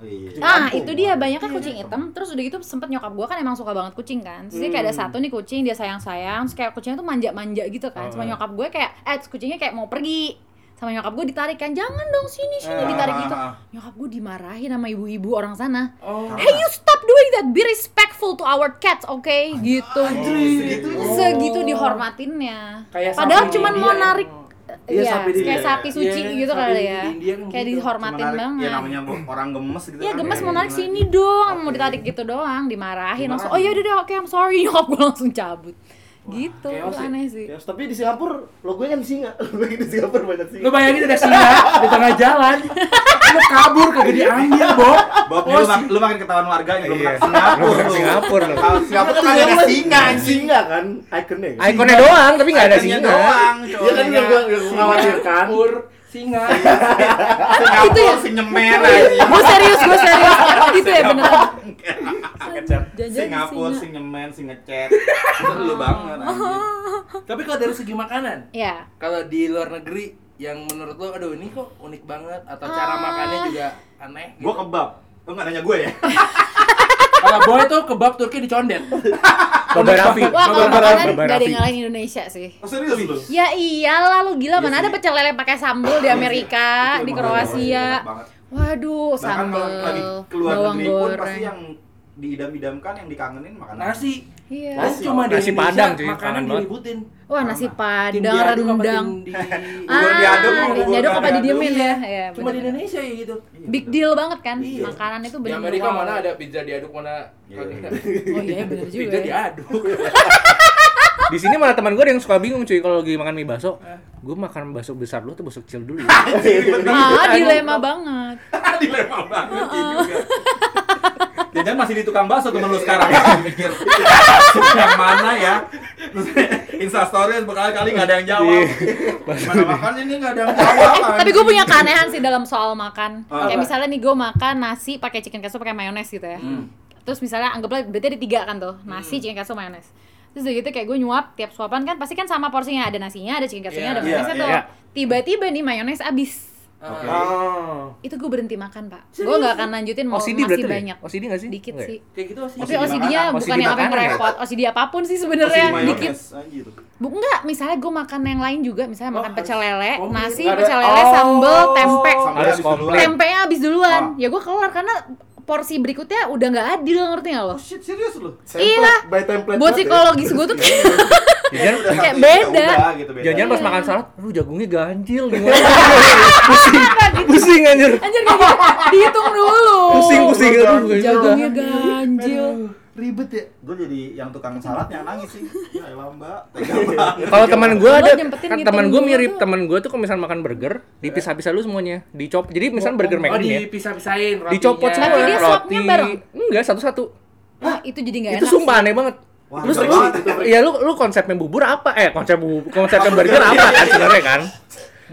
B: Oh, Iya.
A: ah
B: Kampung.
A: itu dia banyak kan kucing hitam terus udah gitu sempet nyokap gua kan emang suka banget kucing kan terus dia kayak ada satu nih kucing dia sayang sayang terus kayak kucingnya tuh manja manja gitu kan sama nyokap gue kayak eh terus kucingnya kayak mau pergi sama nyokap gue ditarik kan jangan dong sini sini
B: Ah,
A: ditarik
B: ah,
A: gitu
B: ah.
A: nyokap gue dimarahin sama ibu-ibu orang sana
D: Oh.
A: hey you stop doing that be respectful to our cats okay gitu
B: Segitu.
A: segitu dihormatinnya
D: Kayak
A: padahal
D: sapi
A: cuman
D: di
A: mau
D: India ya?
A: narik Iya,
E: Iya, sapi di
A: kayak
B: India.
A: sapi suci
D: Iya,
A: gitu
D: sapi
A: kali
D: di
A: ya
D: India kan
A: kayak
D: gitu.
A: dihormatin
B: Menarik,
A: banget
B: Ya namanya orang gemes gitu
A: Iya
B: kan.
A: gemes mau
B: Kayak
A: narik
B: gimana.
A: sini dong, mau
B: Oke.
A: ditarik gitu doang, dimarahin
B: Dimarahin.
A: langsung. Oh iya udah deh, oke I'm sorry, nyokap gue langsung cabut. gitu,
D: chaos
A: itu
D: ya.
A: aneh sih.
E: Chaos, tapi di Singapura logonya kan singa. Logonya di Singapura banyak singa.
D: Lu bayangin ada singa di tengah jalan. Lu kabur kagak diambil, Bob.
B: Bob, lu, mak- lu makin ketahuan warganya, belum
C: Iya.
B: pernah ke Singapura
C: Belum ke
B: lu.
C: Singapura lu.
B: Kalau
A: Iya,
B: Singapura tuh
E: Kan
B: kagak ada
E: Singapura
B: singa anjing.
E: Singa kan ikonnya. kan?
C: Ikonnya doang tapi nggak ada
B: Ikonnya
C: singa.
B: doang,
E: Iya kan yang gua yang gua khawatirkan.
D: Kabur singa.
A: Ah, itu ya.
B: Singapura sing nyemen anjing.
A: Gue serius, gue serius. itu ya bener. Jangan-jangan
B: Singapura
A: singa.
B: sing nyemen, sing ngecet. Itu
A: Oh.
B: lu banget anjing.
D: Tapi kalau dari segi makanan,
A: Ya.
D: kalau di luar negeri yang menurut lu aduh ini kok unik banget atau
A: Ah.
D: cara makannya juga aneh. gitu.
B: Gua kebab. Lu nggak nanya gue ya?
D: Kalau boy tuh kebab Turki dicondet.
C: Baba Raffi.
A: Wah kalau
E: Baba
A: makanan
C: Raffi.
A: gak ada yang ngalahin Indonesia sih.
B: Oh, serius lu?
A: Ya iyalah lu gila,
B: Iya
A: mana ada
B: sih. Iya
A: pecel lele pakai sambal di Amerika, di
B: Itu emang enak
A: Kroasia.
B: banget.
A: Waduh,
B: Bahkan kalau kita di
A: sambal,
B: keluar
A: bawang
B: negeri pun pasti
A: goreng.
B: yang diidam-idamkan, yang dikangenin makanan.
D: Nasi.
A: Iya.
D: Nasi cuma di
C: Nasi
D: Indonesia,
C: Padang, cuy.
D: makanan
C: Kangen banget.
D: diributin.
A: Wah nasi
D: Tim
A: padang,
D: diaduk apa
A: rendang.
D: tim di-
B: Udah diaduk,
A: Ah,
B: udah
A: diaduk apa
B: diaduk.
A: didiemin ya? Iya,
D: Cuma di
A: bener-bener.
D: Indonesia ya gitu.
A: Big deal banget kan
D: Iya.
A: makanan itu
D: Di
A: benar
D: Amerika mana ada pizza diaduk mana
B: Iya.
A: Oh iya benar juga.
D: Pizza
A: ya.
D: diaduk.
C: Di sini malah teman gue ada yang suka bingung cuy kalau lagi makan mie bakso. Gue makan bakso besar dulu atau bakso kecil dulu? ya?
A: Ah, dilema banget.
B: Dilema banget ini juga. Jajan masih di tukang bakso temen lu sekarang. Mikir yang mana ya? Terus Insta story berkali-kali nggak ada yang jawab. Mana makan ini nggak ada yang jawab.
A: Eh, tapi gue punya keanehan sih dalam soal makan.
B: Apa?
A: Kayak misalnya nih gue makan nasi pakai chicken katsu pakai mayones gitu ya. Terus misalnya anggaplah berarti ada tiga kan tuh, nasi, chicken katsu, mayones. Terus udah gitu kayak gue nyuap tiap suapan kan pasti kan sama porsinya ada nasinya, ada chicken katsunya,
D: Iya,
A: ada
B: iya,
A: mayonesnya tuh.
C: iya.
A: Tiba-tiba nih mayones abis.
B: Oke.
D: Ah,
E: Oh.
A: Itu gue berhenti makan, Pak. Gue nggak akan lanjutin mau
C: OCD berarti
A: Oh, masih
C: lu ya?
A: banyak.
C: OCD nggak sih?
A: Dikit
C: Nggak ya?
A: sih.
D: Kayak gitu sih.
A: Tapi
B: OCD
A: OCD-nya
C: makanan,
A: bukan yang apa
C: OCD
A: yang
C: makanan ya?
A: repot, OCD apapun sih
B: Masih
A: sebenarnya
B: mayones,
A: dikit.
B: anjir.
A: Bu, enggak, misalnya gue makan yang lain juga, misalnya
D: Oh,
A: makan
D: harus
A: pecel lele,
D: komplit.
A: nasi,
E: Nggak ada-
A: pecel lele,
E: Oh,
A: sambel, tempe.
B: Sampai
C: Harus
B: habis duluan.
C: komplit.
A: Tempenya habis duluan.
B: Ah.
A: Ya gue keluar karena porsi berikutnya udah nggak adil ngerti nggak lo?
B: Oh shit, serius lu?
A: Iya.
E: By
A: Buat
E: template. banget ya.
A: psikologis gue tuh kayak
B: Jajan udah
A: Kayak
B: satu, ya
A: beda.
B: udah, gitu, beda.
C: Jangan pas makan salad, lu jagungnya ganjil gimana? pusing, pusing anjir.
A: anjir kayak gitu. dihitung dulu.
C: Pusing, pusing. Aduh, ganjil.
A: Jagungnya ganjil.
E: ribet ya.
B: Gue jadi yang tukang salad yang nangis sih. Ya elah mbak, tega banget.
C: Kalau teman gue
A: Lo
C: ada,
A: nyempetin
C: kan
A: gitu Iya.
C: teman gue
A: dulu
C: mirip
A: tuh.
C: teman gue tuh kalau misal makan burger, dipisah-pisah lu semuanya, dicop. Jadi misal burger
D: Oh,
C: McD ya,
D: dipisah-pisahin rotinya.
C: dicopot semua
A: Tapi dia
C: roti.
A: swapnya bareng.
C: Enggak satu-satu.
A: Wah Ah, itu jadi nggak enak.
C: Itu sumpah aneh banget.
B: Wah,
C: lu
B: ngeri
C: lu,
B: banget itu.
C: ya lu lu konsepnya bubur apa? Eh konsep bu- konsepnya burger apa kan sebenarnya kan?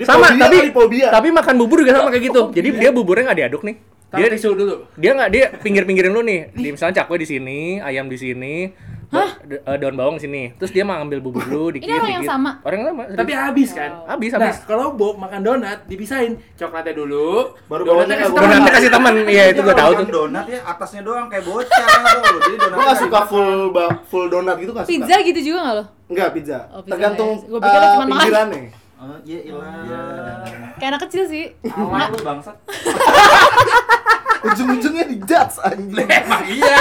C: Sama
E: fobia,
C: tapi
E: dia
A: Oh,
E: fobia.
A: iya.
C: tapi makan bubur juga sama kayak gitu. Jadi dia buburnya nggak diaduk nih.
D: Taruh
C: Dia-
D: tisu dulu.
C: dia nggak dia pinggir-pinggirin lu nih. Di misalnya cakwe di sini, ayam di sini, da- eh, daun bawang sini. Terus dia mau ambil bubur lu dikit
A: orang yang
C: dikit.
A: sama?
C: Orang yang sama.
D: Tapi habis kan?
C: habis
D: Nah,
C: habis.
D: kalau Bob makan donat dipisahin coklatnya dulu,
B: Baru bawahnya
D: donatnya kasih
B: nggak
D: temen.
C: Donatnya kasih teman. Iya, itu gua tahu tuh.
B: donat ya atasnya doang kayak bocah tuh. Jadi donat.
E: Gue gak suka full ba- full donat gitu gak suka.
A: Pizza gitu juga nggak lo?
E: Enggak pizza.
A: Oh, pizza
E: Tergantung
A: nggak ya? Gua pikir lu
E: eh,
A: cuma makan.
E: pinggirannya.
B: Oh, iya ilah.
C: Iya.
A: Kayak anak kecil sih.
B: Awan lu bangsat.
E: Ujung-ujungnya di judge anjing.
B: Emang iya.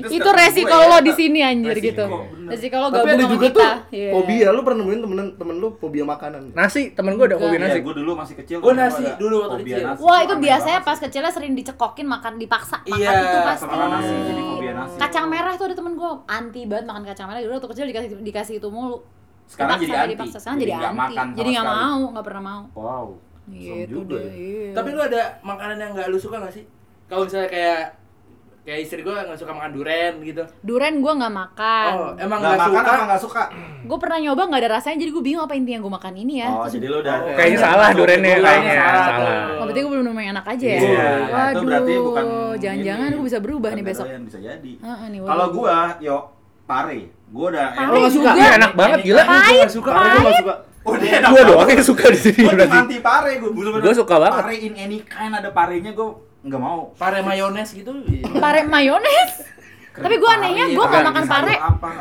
A: itu resiko lo di sini anjir
B: Resiko,
A: gitu. ya,
B: bener.
A: Resiko lo
E: Tapi
A: gabung
E: ada
A: sama
E: juga
A: kita.
E: tuh
A: Iya.
E: fobia. Lu pernah nemuin temen temen lu fobia makanan?
C: Nasi, temen gua ada hobi
A: Enggak.
B: Iya,
C: nasi.
B: gue dulu masih kecil.
D: Gua
B: kan,
D: nasi
B: gua ada
D: dulu waktu
B: fobia
D: kecil.
B: nasi.
A: Wah itu
B: Aneh
A: biasanya pas
B: banget.
A: kecilnya sering dicekokin makan dipaksa makan
D: Iya,
A: itu pasti.
B: Sama nasi jadi fobia nasi.
A: Kacang merah tuh ada temen gue anti banget makan kacang merah. Dulu waktu kecil dikasih dikasih itu mulu.
B: Sekarang
A: Dipaksa,
B: jadi anti.
A: Dipaksa. Sekarang jadi,
B: Jadi nggak
A: anti.
B: makan sama
A: jadi nggak
B: sekali.
A: mau, nggak pernah mau.
B: Wow. serem
A: Gitu
B: juga
A: deh.
B: ya.
A: iya.
D: Tapi lu ada makanan yang nggak lu suka nggak sih? Kalau misalnya kayak kayak istri gua nggak suka makan duren gitu.
A: Duren gue nggak makan.
D: Oh, emang
B: Nggak
D: nggak
B: makan
D: suka?
B: apa nggak suka?
A: Gue pernah nyoba nggak ada rasanya jadi gue bingung apa intinya gue makan ini ya.
B: Oh,
A: Terus
B: jadi lu udah.
D: Oh.
C: Kayaknya salah durennya
D: Durennya
C: kayaknya
D: salah.
C: salah.
A: Oh, berarti gue belum nemu yang enak aja ya?
B: Iya, itu
A: Waduh,
B: berarti bukan
A: jangan-jangan
B: ini.
A: gue bisa berubah nih
B: Bukan
A: besok.
B: kedoyan, bisa jadi.
A: Heeh, nih, waduh.
B: Kalau gua, yo pare. Gua udah
A: Pare
E: Lu gak suka?
A: juga.
C: Iya, enak banget gila.
D: Gua nggak suka.
E: Karena gue gak suka.
B: Udah enak
C: Gua doang
B: banget.
C: yang suka di
B: Gua
C: sini
B: cuma
C: berarti.
B: anti pare gua. bener-bener.
C: Gua suka banget.
B: Pare in any kind ada parenya gua nggak mau.
D: Pare mayones gitu.
A: Pare mayones. Tapi gue anehnya gue gak makan pare.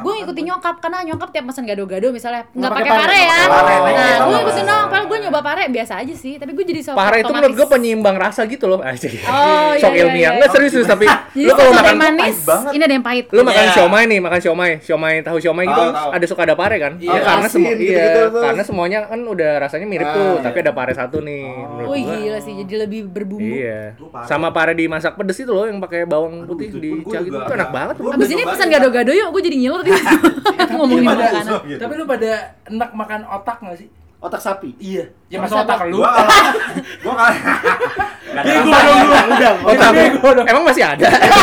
A: Gue ngikutin nyokap
B: nyokap
A: karena nyokap tiap pesan gado-gado misalnya nggak
D: pakai
A: pakai pare
D: pare,
A: ya.
D: nggak
B: pakai pare.
A: Nah,
B: Nggak
A: gue
B: pakai
A: ngikutin
B: pare.
A: doang. Padahal gue nyoba pare biasa aja sih. Tapi gue jadi so-
C: Pare itu menurut gue
A: iya. otomatis.
C: penyeimbang rasa gitu loh. Ah, jadi-
A: Oh, iya,
C: Sok
A: iya,
C: ilmiah.
A: iya.
C: Enggak serius serius, tapi
A: Jadi
C: lu kalau
A: ada
C: makan
A: yang manis,
B: pahit banget.
A: ini ada yang pahit.
C: lu makan
D: Iya.
C: siomay nih makan siomay siomay tahu siomay gitu
B: Tahu, tahu.
C: ada suka ada pare kan
D: Iya.
C: Ya, karena
E: Asin,
C: semua
E: gitu-gitu
C: iya,
E: terus.
C: karena semuanya kan udah rasanya mirip
E: Ah,
C: tuh
E: iya.
C: tapi ada pare satu nih menurut
A: Wih
C: gua.
A: gila sih, jadi lebih berbumbu.
C: iya
B: Gua pare.
C: sama pare dimasak pedes itu loh yang pakai bawang
B: Aduh,
C: putih
B: itu
C: di
B: pun gua
C: cah gitu
B: juga
C: itu enak
B: agak-
C: banget
B: gua
C: loh
A: Abis ini
B: Gua
A: pesan
B: nyobain.
A: gado-gado yuk, gue jadi ngiler di situ. ngomongin
B: Gimana
A: makanan.
B: usul gitu?
D: Tapi lu pada enak makan otak nggak sih?
E: Otak sapi.
D: Iya. Ya
A: Masa
D: masa otak lu?
B: Gua kalau gua kalau Nggak ada
D: Bego
B: rasa.
D: dong lu.
E: Udah,
C: oh
E: otak.
C: tapi emang masih ada
A: Bego.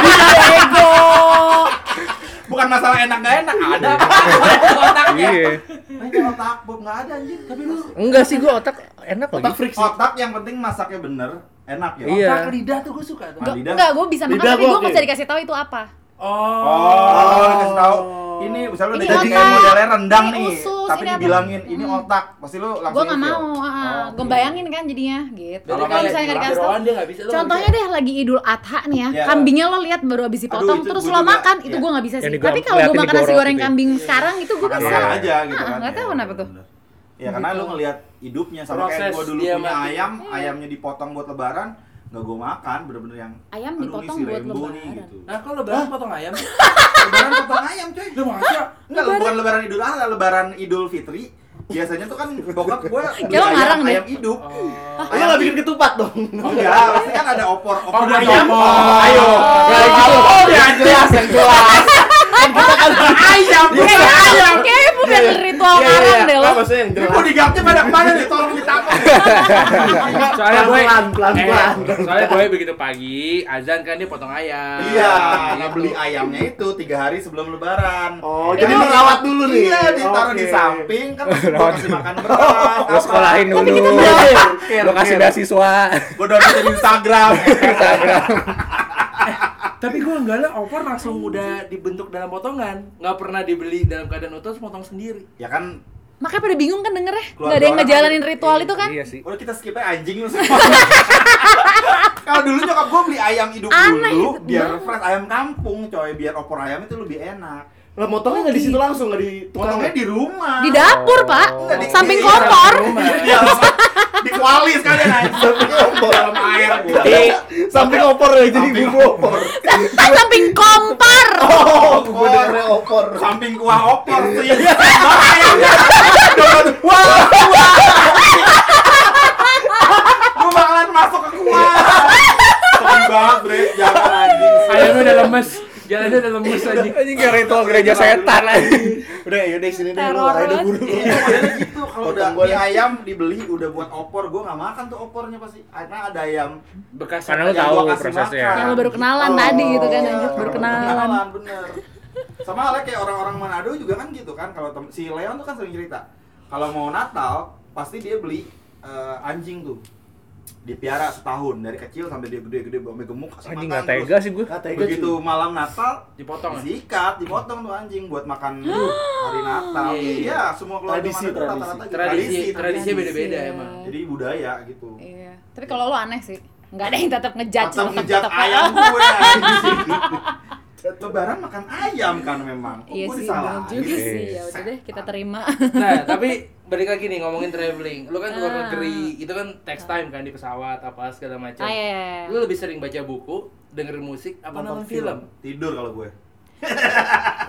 B: bukan masalah enak nggak enak ada.
D: Otaknya.
C: iya
B: Ini otak Bob nggak ada anjir. Tapi lu
C: enggak sih gua otak enak
E: Otak
C: lagi
E: friksi.
B: otak yang penting masaknya bener enak ya.
C: Iya.
D: Otak lidah tuh gua suka tuh.
B: Nggak. Lidah.
A: Enggak, gue bisa makan
E: Lidah
A: tapi
E: gua
A: gue
E: oke.
A: bisa dikasih tahu itu apa.
B: Oh, lu kasih tahu.
D: Oh.
B: Ini misalnya lu
A: Ini
B: udah jadi
A: otak.
B: modelnya rendang
A: Ini
B: nih,
A: usus,
B: tapi
A: ini apa?
B: dibilangin ini
A: Hmm.
B: otak, pasti lu langsung
A: gue nggak
B: ilfeel.
A: mau ah,
B: Oh,
A: gue
B: oke.
A: bayangin kan jadinya gitu
D: Berarti
A: Tapi kalau
D: kayak
A: misalnya nggak
D: di
A: dikasih
D: Rohan
A: tau
D: dia nggak bisa, lu nggak
A: contohnya
D: bisa.
A: deh lagi idul adha nih ya
B: Iya.
A: kambingnya lo lihat baru habis dipotong
B: Aduh, itu
A: terus
B: gua
A: lo
B: juga.
A: makan itu
B: Iya.
A: gue nggak bisa sih
C: Yang
A: tapi
C: digor-
A: kalau gue
C: liatin
A: makan nasi
C: digorok
A: goreng
C: gitu ya.
A: kambing sekarang itu gue
B: makan
A: bisa
B: makan aja gitu
A: Ah,
B: kan.
A: nggak tahu
B: Ya,
A: kenapa tuh Gitu.
B: bener. Ya karena lu ngelihat hidupnya sama kayak
D: Proses
B: gua dulu
D: dia
B: punya
D: mati.
B: ayam,
A: Iya.
B: ayamnya dipotong buat lebaran, nggak gua makan, bener-bener yang
A: Ayam
B: "Aduh, ini
A: dipotong
B: si
A: buat
B: Rainbow
A: lebaran.
B: nih," gitu.
D: Nah, kalau lebaran potong ayam.
B: Lebaran potong ayam, coy.
D: Lu masa?
B: Enggak, bukan lebaran Idul Adha, lebaran Idul Fitri. Biasanya tuh kan bokap gua beli
A: Dia lo ngarang
B: ayam,
A: deh.
B: ayam hidup.
E: Lu gak bikin ketupat dong.
B: Enggak, pasti kan ada opor, Oh. opor
D: Opor
B: ayam.
D: opor.
B: Oh,
E: Ayo. Ya gitu. Yang jelas, yang jelas. Kan kita kan
B: Iya,
E: ayam.
A: kayaknya kayaknya bukan ritual karang deh lo
E: Nggak, maksudnya yang
B: Ini
E: jelas.
B: bodyguardnya pada kemana nih? Tolong ditangkap.
D: soalnya gue
E: Pelan, pelan, pelan.
D: soalnya gue begitu pagi azan kan dia potong ayam
B: Iya, karena beli ayamnya itu tiga hari sebelum lebaran.
E: Oh, jadi lu rawat dulu nih.
B: Iya, ditaruh di
E: Oke.
B: samping kan masih gua kasih makan beras.
C: lo sekolahin dulu lo kasih beasiswa
B: Gue download dari Instagram.
D: tapi gue enggak lah opor langsung udah dibentuk dalam potongan nggak pernah dibeli dalam keadaan utuh terus potong sendiri
B: ya kan,
A: makanya pada bingung kan dengernya
B: Keluarga
A: nggak ada yang
B: orang
A: ngejalanin
B: kan-
A: ritual itu kan
C: iya sih
B: udah kita skip aja anjing lu semua. Kalau dulu nyokap gue beli ayam hidup
A: Aneh gitu,
B: dulu,
A: banget.
B: biar fresh ayam kampung, coy. Biar opor ayam itu lebih enak.
E: Lah motornya nggak di situ langsung nggak di tukang
B: Potongnya di rumah.
A: di dapur pak
B: Enggak, Oh. di- iya,
A: samping
B: di-
A: kompor
D: di rumah.
B: Iya, langsung di kuali sekalian aja. Dalam air. gua.
E: sampai opor ya jadi
B: Samping
E: bumbu opor.
A: Pak, samping kompor
E: Oh, gue dengernya opor. Iya.
B: Samping kuah opor sih. Bawa ayamnya. Download. Wah, wah. Gue bakalan masuk ke kuah. Sedih banget, Bre. Jangan anjing.
D: ayamnya udah lemes jalannya udah lemes aja
C: ini kayak ritual gereja setan anjing.
E: Udah, yaudah sini deh lu.
A: Teror
E: Ayo deh,
A: banget.
E: buru.
B: Iya, modelnya gitu. Kalau udah
E: Potong gua
B: mie
E: dah.
B: ayam dibeli udah buat opor, gue nggak makan tuh opornya pasti. Karena ada ayam.
D: bekas
C: Karena lu
B: yang
C: tahu
B: gua kasih
C: prosesnya.
B: makan.
A: yang lo baru kenalan
E: Oh.
A: tadi gitu kan anjir
B: Iya,
A: baru kenalan
B: bener. Sama halnya kayak orang-orang Manado juga kan gitu kan. Kalau tem- si Leon tuh kan sering cerita, kalau mau Natal pasti dia beli eh, anjing tuh. dipiara setahun dari kecil sampai dia gede-gede sampai gemuk kasih
C: Anjing,
B: makan
C: nggak tega
B: terus.
C: sih gue.
E: Nggak tega,
B: begitu malam Natal
D: Dipotong, ya?
B: disikat dipotong tuh anjing buat makan hari Natal
D: Iya, iya.
B: iya semua keluarga
E: Tradisi,
B: Manado
E: tradisi.
B: rata-rata gitu.
D: Tradisi,
B: Tradisi,
D: tradisi beda-beda
A: Tradisi,
D: emang.
A: ya.
B: jadi budaya gitu
A: Iya. Tapi kalau lo aneh sih. Nggak ada yang tetap ngejudge
B: tetap
A: lo,
B: ngejat
A: tetep-
B: ayam gue anjing. lebaran makan ayam kan memang Kok
A: Iya
B: gue
A: sih,
B: disalahin?
A: bener juga
C: Iya.
A: sih. Ya udah deh, kita terima.
D: Nah, tapi balik lagi nih ngomongin traveling. Lu kan ke luar
A: Ah.
D: negeri, itu kan text time kan di pesawat apa segala macam.
A: Ah, iya, iya, iya.
D: Lu lebih sering baca buku, dengerin musik apa
E: Nonton
D: nonton film?
B: tidur kalau gue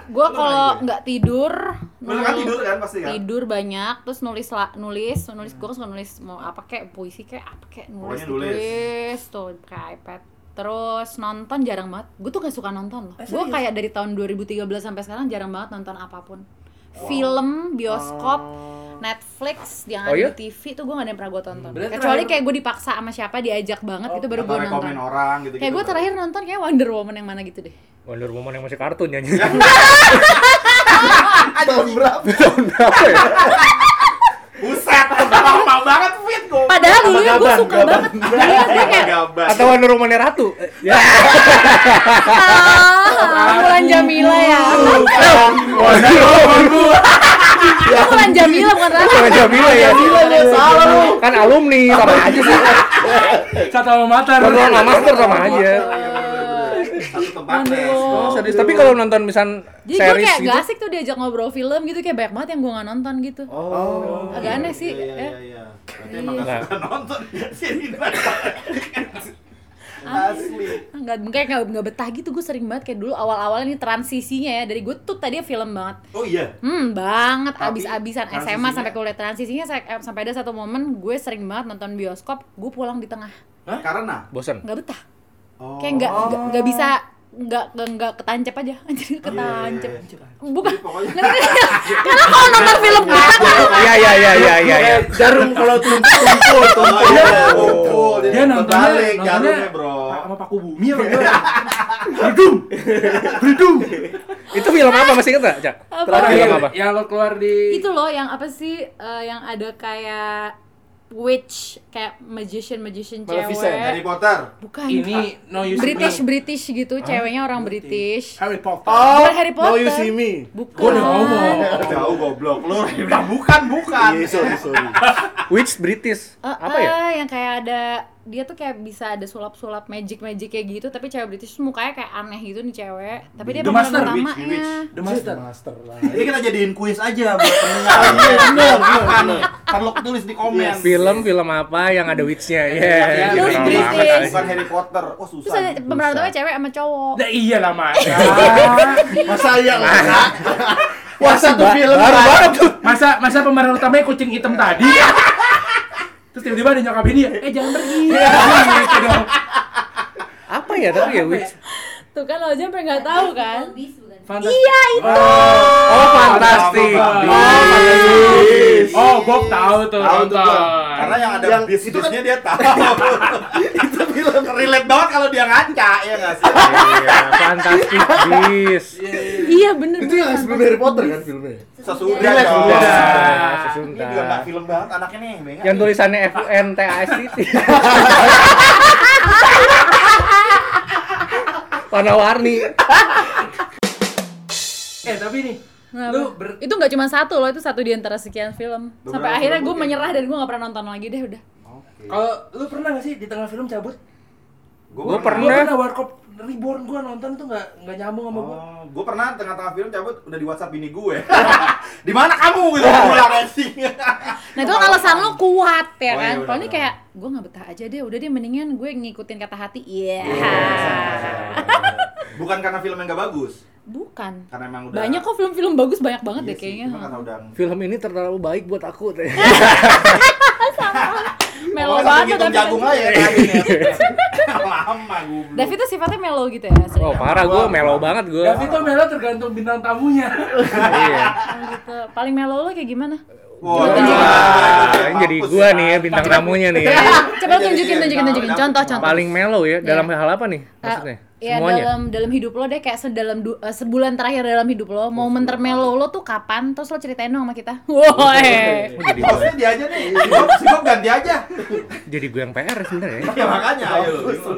A: Gue kalau
B: aja.
A: nggak tidur,
B: Lu kan
A: nul-
B: tidur kan pasti
A: Iya.
B: kan?
A: Tidur banyak, terus nulis la- nulis, nulis gue suka nulis mau apa kayak puisi kayak apa kayak nulis,
B: Pokoknya nulis.
A: ditulis, tuh pakai iPad. Terus nonton jarang banget. Gue tuh gak suka nonton loh.
D: Eh,
A: Gue
D: serius?
A: kayak dari tahun 2013 sampai sekarang jarang banget nonton apapun. Film, bioskop, Netflix yang
C: Oh,
A: ada
C: iya?
A: di TV tuh gue gak ada yang pernah gue tonton.
D: Berarti
A: Kecuali
D: terakhir-
A: kayak gue dipaksa sama siapa diajak banget
D: Oh,
A: itu baru
B: atau
A: gue nonton.
B: rekomen orang gitu
A: Kayak gue terakhir nonton kayak Wonder Woman yang mana gitu deh.
C: Wonder Woman yang masih kartun ya. anjing.
E: Tahun berapa?
C: Tahun berapa ya?
B: buset lama banget fit gue
A: Padahal dulu gue
E: Gaban,
A: suka
E: gaban.
A: banget. Dulunya gue kayak
B: gabas
C: Atau Wonder Woman yang ratu? Eh, Ya.
A: ah, Mulan Jamila ya.
C: Wonder Woman gue.
A: Aku Mulan Jamila bukan Rara.
C: Jangan Jamila ya.
E: Salah lu.
C: Kan alumni sama aja sih.
E: Eh.
D: Satu alma mater.
C: Kalau nggak master ya. sama aja.
B: satu tempat
A: Wonder
B: tes
A: Woman.
C: Oh, serius. Tapi kalau nonton misal
A: Jadi gue
C: series
A: kayak
C: gitu.
A: gak asik tuh diajak ngobrol film gitu kayak banyak banget yang gue gak nonton gitu.
E: Oh.
A: Agak aneh sih.
B: Iya, iya,
A: eh.
B: iya. Berarti emang gak
C: Iya.
B: suka nonton Sini, Asli.
A: Ah, Nggak, kayak nggak nggak betah gitu gue sering banget kayak dulu awal-awalnya nih transisinya ya dari gue tuh tadi film banget
B: Oh iya.
A: Hmm, banget
B: Tapi
A: abis-abisan SMA
B: transisinya-
A: sampai kuliah transisinya sa- eh, sampai ada satu momen gue sering banget nonton bioskop, gue pulang di tengah.
B: Karena
C: Bosen.
A: nggak betah.
B: oh.
A: Kayak nggak nggak- nggak bisa nggak nggak- nggak ketancep aja. Anjir ketancep.
B: Iya, iya,
A: Bukan.
B: Jadi pokoknya-
A: Ngerti nggak? Karena kalau nonton film kita tuh
C: Iya iya iya iya iya. iya.
E: Eh, Jarum kalau tumpul tumpul
B: Oh,
E: tumpul.
B: iya. Kumpul. Jadi
D: Dia nontonnya,
B: terbalik
D: nontonnya
B: jarumnya, Bro.
D: Sama Paku Bumi
E: Iya.
D: apa gimana?
C: Itu film apa masih inget nggak, Cak?
A: Apa?
C: Terakhir film apa?
D: Yang Ya, lo keluar di
A: itu loh yang apa sih eh, yang ada kayak witch kayak magician magician cewek.
E: Maleficent,
B: Harry Potter.
A: Bukan.
D: ini no use
A: British British gitu, ceweknya orang British.
D: Harry Potter.
E: Oh,
A: Bukan Harry Potter.
E: Now you see me.
A: Bukan.
D: Gua udah ngomong.
B: Jauh goblok lu. Nah, Eh. bukan, bukan.
E: Iya, sorry, sorry.
C: Which British?
A: Eh,
C: Apa ya?
A: eh, yang kayak ada dia tuh kayak bisa ada sulap-sulap magic-magic kayak gitu, tapi cewek British tuh mukanya kayak aneh gitu nih cewek. Tapi dia iya.
D: The
A: pemeran
D: Master,
A: utamanya.
B: Witch, Witch.
D: The Master.
E: Master lah.
B: Jadi kita jadiin kuis aja buat pendengar.
E: bener,
B: Apa nih? Ntar lo tulis di komen.
C: Film film apa yang ada witch-nya? Ya.
D: Iya,
C: gitu
A: Which
C: doang
A: British?
C: banget aja.
B: Bukan Harry Potter. Oh, susah.
A: Terus ada
B: nih.
A: pemeran utamanya cewek sama cowok.
D: Nah, iya lah mas. Nah.
E: Masa iya lah. Wah, satu film
C: Baru
E: Pak.
C: banget tuh.
D: masa masa pemeran utamanya kucing hitam tadi. Terus tiba-tiba ada nyokap ini ya, eh jangan pergi. Gitu dong.
C: Apa ya tapi ya witch?
A: Tuh kan lo aja sampai nggak tahu kan.
D: Fantas-
A: Iya itu.
C: Oh, fantastik.
B: Oh,
E: Yes.
D: Oh, Bob tahu
B: Iya.
D: tuh
B: Tahu tuh,
D: nonton.
B: Bang. Karena yang ada
E: Yang
B: bis
E: itu kan-
B: bisnya dia tahu. itu film relate banget kalau dia ngaca ya nggak sih?
C: Iya, fantastik bis.
A: Iya bener.
E: Itu yang sebelum Harry Potter kan filmnya. Iya,
B: Sesudah
E: Relate,
B: dong.
E: sesudah. Iya,
B: Ini juga nggak film banget anaknya nih. bengak
C: Yang
B: nih.
C: tulisannya F U N T A S T. Warna-warni.
D: Eh, tapi nih,
A: Kenapa?
D: lu ber-
A: Itu nggak cuma satu loh, itu satu di antara sekian film. Sampai
B: Beberapa
A: akhirnya
B: film
A: gue
B: mungkin.
A: menyerah dan gue nggak pernah nonton lagi deh udah.
D: kalau lu pernah gak sih di tengah film cabut?
C: Gua
D: Gua
C: Pernah.
D: pernah Warkop Reborn gua nonton tuh gak, nggak nyambung sama gua.
B: Oh, gue pernah tengah-tengah film cabut udah di WhatsApp bini gue. di mana kamu gitu
C: Iya.
B: pulang anjing.
A: Nah itu kan alasan lo kuat ya
B: Oh, iya,
A: kan.
B: benar,
A: Kalau ini
B: benar.
A: kayak gue nggak betah aja deh, udah deh mendingan gue ngikutin kata hati. Iya.
B: Bukan karena film yang gak bagus,
A: Bukan.
B: karena emang udah
A: Banyak kok film-film bagus banyak banget
B: Iya
A: deh
B: sih,
A: kayaknya.
B: cuma karena udah Oh,
C: Film ini terlalu baik buat aku.
A: Melo
B: Pokoknya sampai
A: banget
B: ngitung
A: David.
B: jagung aja ya. Lama gue
A: David tuh sifatnya melo gitu ya. sering.
C: Oh, parah gue melo banget gue.
D: David tuh Melo tergantung bintang tamunya.
C: Iya.
A: Oh, gitu. Paling melo lo kayak gimana?
B: Wah,
C: Wah,
B: gila.
C: ini jadi gua nih ya, bintang tamunya nih. ya.
A: Coba tunjukin, tunjukin,
B: Jadi, jangan-
A: tunjukin.
B: jangan-
A: Contoh, contoh.
C: Paling mellow ya dalam hal apa nih maksudnya?
A: ya
C: Semuanya.
A: dalam dalam hidup lo deh kayak sedalam du- eh, sebulan terakhir dalam hidup
C: Oh,
A: lo momen termelo lo tuh kapan terus lo ceritain dong sama kita woi
C: Oh, jadi gua,
B: Bosnya Eh, dia aja nih. Sikop, sikop ganti aja.
C: jadi gua yang PR sebenarnya. ya.
B: Ya makanya ayo.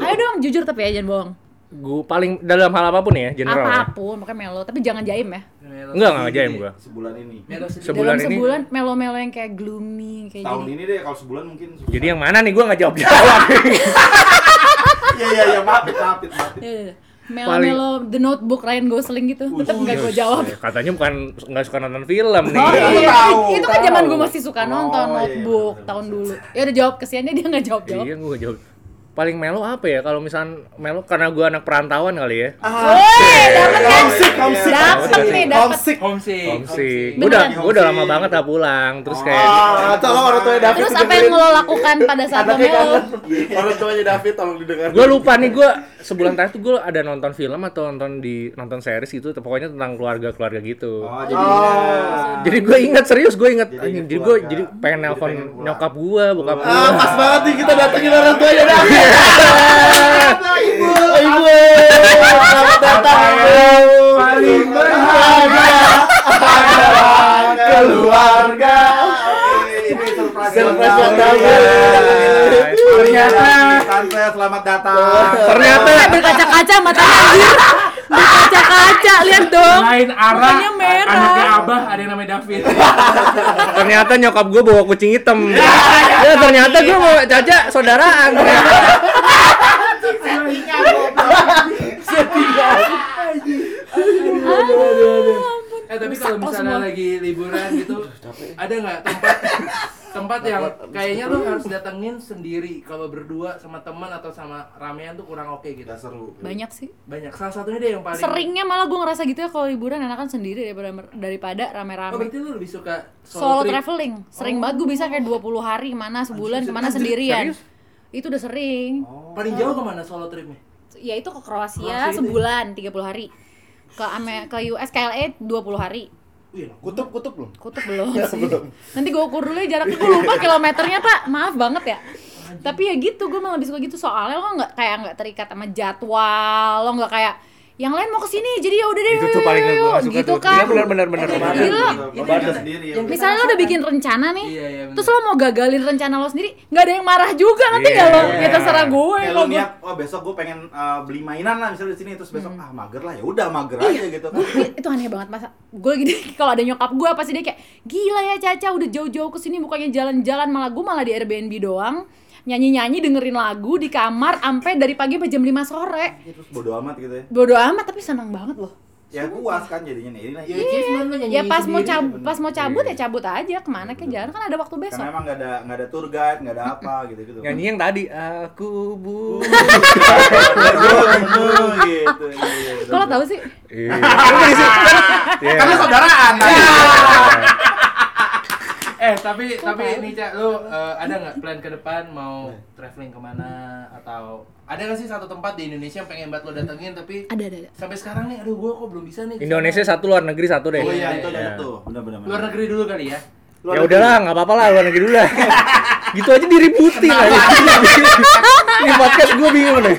A: ayo dong jujur tapi ya jangan bohong
C: Gua paling dalam hal apapun ya, general. ya.
A: apapun makanya melo tapi jangan jaim ya
C: Enggak, enggak ajaim gua.
B: Sebulan ini.
C: Sebulan
A: dalam
C: ini-
A: sebulan melo-melo yang kayak gloomy kayak
B: Tahun
A: jadi
B: ini deh kalau sebulan mungkin. susah.
C: Jadi yang mana nih gua nggak jawab jawab.
B: Iya iya iya maaf maaf maaf.
A: Ya, ya, ya. melo-melo the notebook Ryan Gosling gitu tetap nggak gue jawab
C: Iya, Katanya bukan nggak suka nonton film nih.
A: Oh
B: Iya,
A: iya,
B: tahu,
A: itu kan
B: tahu.
A: zaman gue masih suka nonton
B: Oh, iya,
A: notebook
B: bener-bener.
A: tahun dulu. Ya udah jawab kesiannya dia nggak jawab jawab.
C: Iya, gua nggak jawab. Paling melo apa ya? Kalau misalnya melo karena gua anak perantauan kali ya.
A: Woi,
B: Iya,
A: dapet kan?
B: Homesick, homesick,
A: Dapet
B: Iya.
C: homesick.
A: nih, dapet.
E: Homesick.
D: Homesick.
C: Homesick.
A: Beneran.
C: Gua udah gua udah lama
B: Homesick.
C: banget lah pulang. Terus kayak
E: Ah, tolong orang tuanya David.
A: Terus apa yang lo lakukan pada saat lo
E: Anaknya
A: melo?
E: kangen. Orang tuanya David tolong didengar.
C: gue lupa nih gue sebulan terakhir tuh gue ada nonton film atau nonton di nonton series gitu pokoknya tentang keluarga keluarga gitu
B: Oh,
E: Ah.
C: jadi gue ingat serius gue ingat
B: Jadi
C: anjing,
B: ingat
C: jadi gue
B: keluarga.
C: jadi pengen
B: Jadi
C: nelpon
B: pengen pulang.
C: nyokap gue bokap gue
B: Iya.
E: Ah, pas banget nih kita datengin orang tuanya David.
B: ibu.
E: Ibu, selamat datang Ibu.
B: Paling berharga adalah keluarga. Iya, Ini surprise
E: Surprise
B: ulang tahun.
E: ulang tahun.
B: iya, Ternyata tante selamat datang.
C: ternyata
A: Eh, berkaca-kaca matanya anjir. Berkaca-kaca, lihat dong.
D: Lain arah.
A: Mukanya merah.
D: Anaknya Abah ada yang namanya David.
C: ternyata nyokap gue bawa kucing hitam ya ternyata gue bawa caca saudaraan
D: Eh tapi
A: Rusak
D: kalau
A: lo
D: misalnya
A: semua.
D: lagi liburan gitu, ada nggak tempat tempat yang kayaknya lu harus datengin sendiri kalau berdua sama teman atau sama ramean tuh kurang oke gitu.
B: Udah seru.
A: Banyak sih.
D: Banyak salah satunya deh yang paling
A: Seringnya malah gue ngerasa gitu ya kalau liburan enakan sendiri daripada daripada
D: Oh,
A: rame-rame.
D: berarti lu lebih suka
A: Solo
D: solo, trip.
A: traveling. Sering banget gue bisa kayak 20 hari mana sebulan kemana sendirian. Itu udah sering.
D: Paling jauh kemana solo tripnya?
A: ya itu ke Kroasia
D: Oh. Kroasia itu ya?
A: sebulan 30 hari ke Ame ke US KLA 20 E hari
D: Wih, lama.
E: Kutub, kutub belum?
A: kutub belum sih nanti gue ukur dulu ya jaraknya gue lupa kilometernya pak maaf banget ya tapi ya gitu gue malah lebih suka gitu soalnya lo nggak kayak nggak terikat sama jadwal lo nggak kayak yang lain mau kesini jadi ya udah deh
C: itu
A: yuk,
C: tuh
A: yuk,
C: paling
A: yuk,
C: gue
A: yuk."
C: gak suka
A: gitu
C: tuh
A: kan
C: Iya, bener bener bener
A: Gila.
B: Gila. sendiri. ya.
D: Yang-
A: misalnya lo udah bikin rencana nih
D: kan Iya, iya, bener.
A: terus lo mau gagalin rencana lo sendiri nggak ada yang marah juga nanti nggak lo
C: Iya.
A: ya terserah gue
B: Kayak
A: kalau
B: lo
A: gue
B: niat, oh besok gue pengen eh, beli mainan lah misalnya di sini terus besok ah mager lah ya udah mager aja gitu kan.
A: Ih, itu aneh banget masa gue gini kalau ada nyokap gue pasti dia kayak gila ya Caca udah jauh-jauh kesini bukannya jalan-jalan malah gue malah di Airbnb doang nyanyi-nyanyi dengerin lagu di kamar sampai dari pagi sampai jam 5 sore
B: Ya, Terus bodo amat gitu ya.
A: bodo amat tapi seneng banget loh
B: Ya puas kan jadinya nih. Ini-
D: Ya, achievement lo nyanyi
A: ya pas mau
D: sendiri.
A: cabut pas mau cabut ya cabut aja kemana ke jalan kan ada waktu besok
B: Karena emang nggak ada nggak ada tour guide, nggak ada apa gitu-gitu.
C: nyanyi yang tadi aku bu
B: gitu. iya, iya.
A: kalau tahu sih
C: Iya. Kenapa di situ? Iya.
B: saudaraan.
D: Eh tapi tapi nih cak lu eh, ada nggak plan ke depan mau
B: Nah.
D: traveling kemana atau ada nggak sih satu tempat di Indonesia yang pengen banget lo datengin tapi
A: ada ada ada
D: sampai sekarang nih aduh gua kok belum bisa nih kesana.
C: Indonesia satu luar negeri satu deh
B: Oh iya, itu
C: Iya.
B: ada tuh. Benar-benar.
D: luar negeri dulu kali ya
C: ya udahlah nggak apa-apa lah luar negeri dulu lah gitu aja diributin lah ini podcast gue bingung deh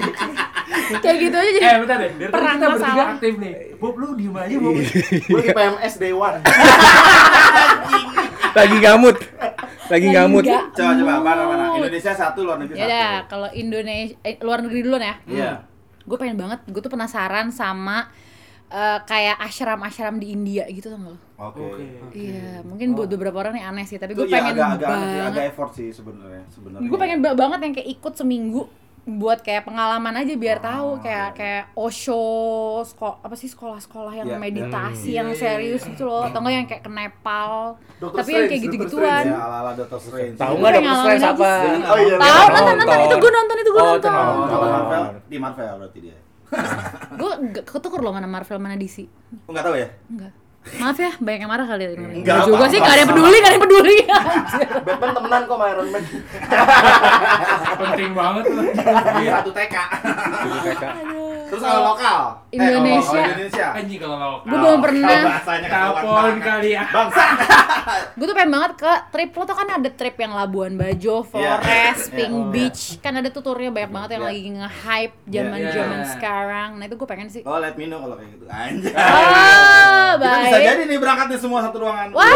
A: kayak gitu aja jadi
D: eh bentar deh dari tadi
A: Perang
D: kita bertiga
A: masalah.
D: aktif nih Bob lu diem aja Bob
B: Iya.
E: Gue lagi PMS day one.
C: lagi gamut lagi gamut
A: nggak
B: Coba coba mana mana.
A: mood.
B: Indonesia satu, luar negeri
A: Oh. ya
B: satu.
A: udah kalau Indonesia eh, luar negeri dulu ya
B: Iya.
A: gue pengen banget gue tuh penasaran sama eh, kayak ashram-ashram di India gitu tau gak lo?
B: Oke.
D: oke
A: Iya, mungkin buat beberapa orang nih aneh sih, tapi
B: Itu
A: gue
B: ya
A: pengen
B: agak agak aneh sih, agak
A: banget.
B: effort sih sebenarnya sebenarnya.
A: Gue pengen ba- banget yang kayak ikut seminggu buat kayak pengalaman aja biar tahu kayak kayak Osho, sekol- apa sih sekolah-sekolah yang
B: Iya,
A: meditasi
D: iya,
A: yang
D: iya, iya,
A: serius
D: iya.
A: gitu loh, atau enggak yang kayak ke Nepal. tapi
E: Dr.
A: yang
E: Strange,
A: kayak
E: Dr.
A: gitu-gituan.
B: ya ala-ala Doctor Strange.
C: tahu
A: Gue
C: nggak
A: pengen
C: dokter
A: ngalamin
C: Strange apa
A: aja sih.
E: Oh iya,
A: Tahu nonton nonton itu gue nonton itu gue
C: Oh,
A: nonton.
C: nonton.
B: Oh, kalau
C: Oh.
B: Marvel di Marvel berarti dia.
A: Gue gak ketuker loh mana Marvel mana DC.
B: Oh, nggak tahu ya?
A: Enggak. Maaf ya, banyak yang marah kali ya.
B: Enggak
A: Enggak juga
B: apa-apa.
A: sih, gak ada yang peduli, gak ada yang peduli.
E: Batman temenan kok sama Iron Man.
D: penting banget lu Iya.
B: Di satu TK.
A: Aduh.
B: Terus kalau lokal. Eh, kalau
A: Indonesia.
B: lokal Indonesia.
D: Iya. Anjing kalau lokal.
A: Gue belum
B: Kalau
A: pernah.
B: bahasanya
D: Kapan
B: kan.
D: kali ya?
B: Bangsa.
A: Gue tuh pengen banget ke trip lo tuh kan ada trip yang Labuan Bajo, Flores,
B: Iya.
A: Pink
B: Iya.
A: Beach, kan ada tuh turnya banyak banget yang
B: Iya.
A: lagi nge-hype zaman zaman
D: Iya.
A: sekarang. Nah itu gue pengen sih.
B: Oh, let me know kalau kayak gitu. Anjay.
A: Oh,
B: Kita bisa
A: baik.
B: jadi nih berangkat nih semua satu ruangan.
A: Wah,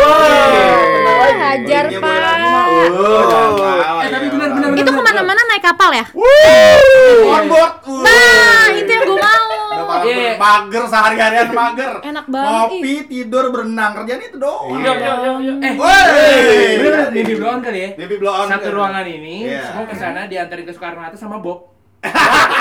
A: hajar
B: Dia boleh lagi, Mak.
A: pak.
B: Oh, jangan salah,
F: Eh, tapi
B: ya,
F: benar,
B: Pak.
F: benar, benar.
A: Itu kemana-mana naik kapal ya?
B: On board.
A: Nah, itu yang gue mau.
D: Iya.
B: Mager sehari-harian mager.
A: Enak banget,
B: Ngopi, tidur, berenang, kerjaan itu doang.
F: Iya,
D: Yuk, yuk, yuk, yuk. Eh,
B: Woi.
D: bener-bener mimpi blow on kali ya?
B: Mimpi blow on.
D: Satu ruangan ini,
B: Iya.
D: semua ke sana diantarin ke Soekarno Hatta sama Bob.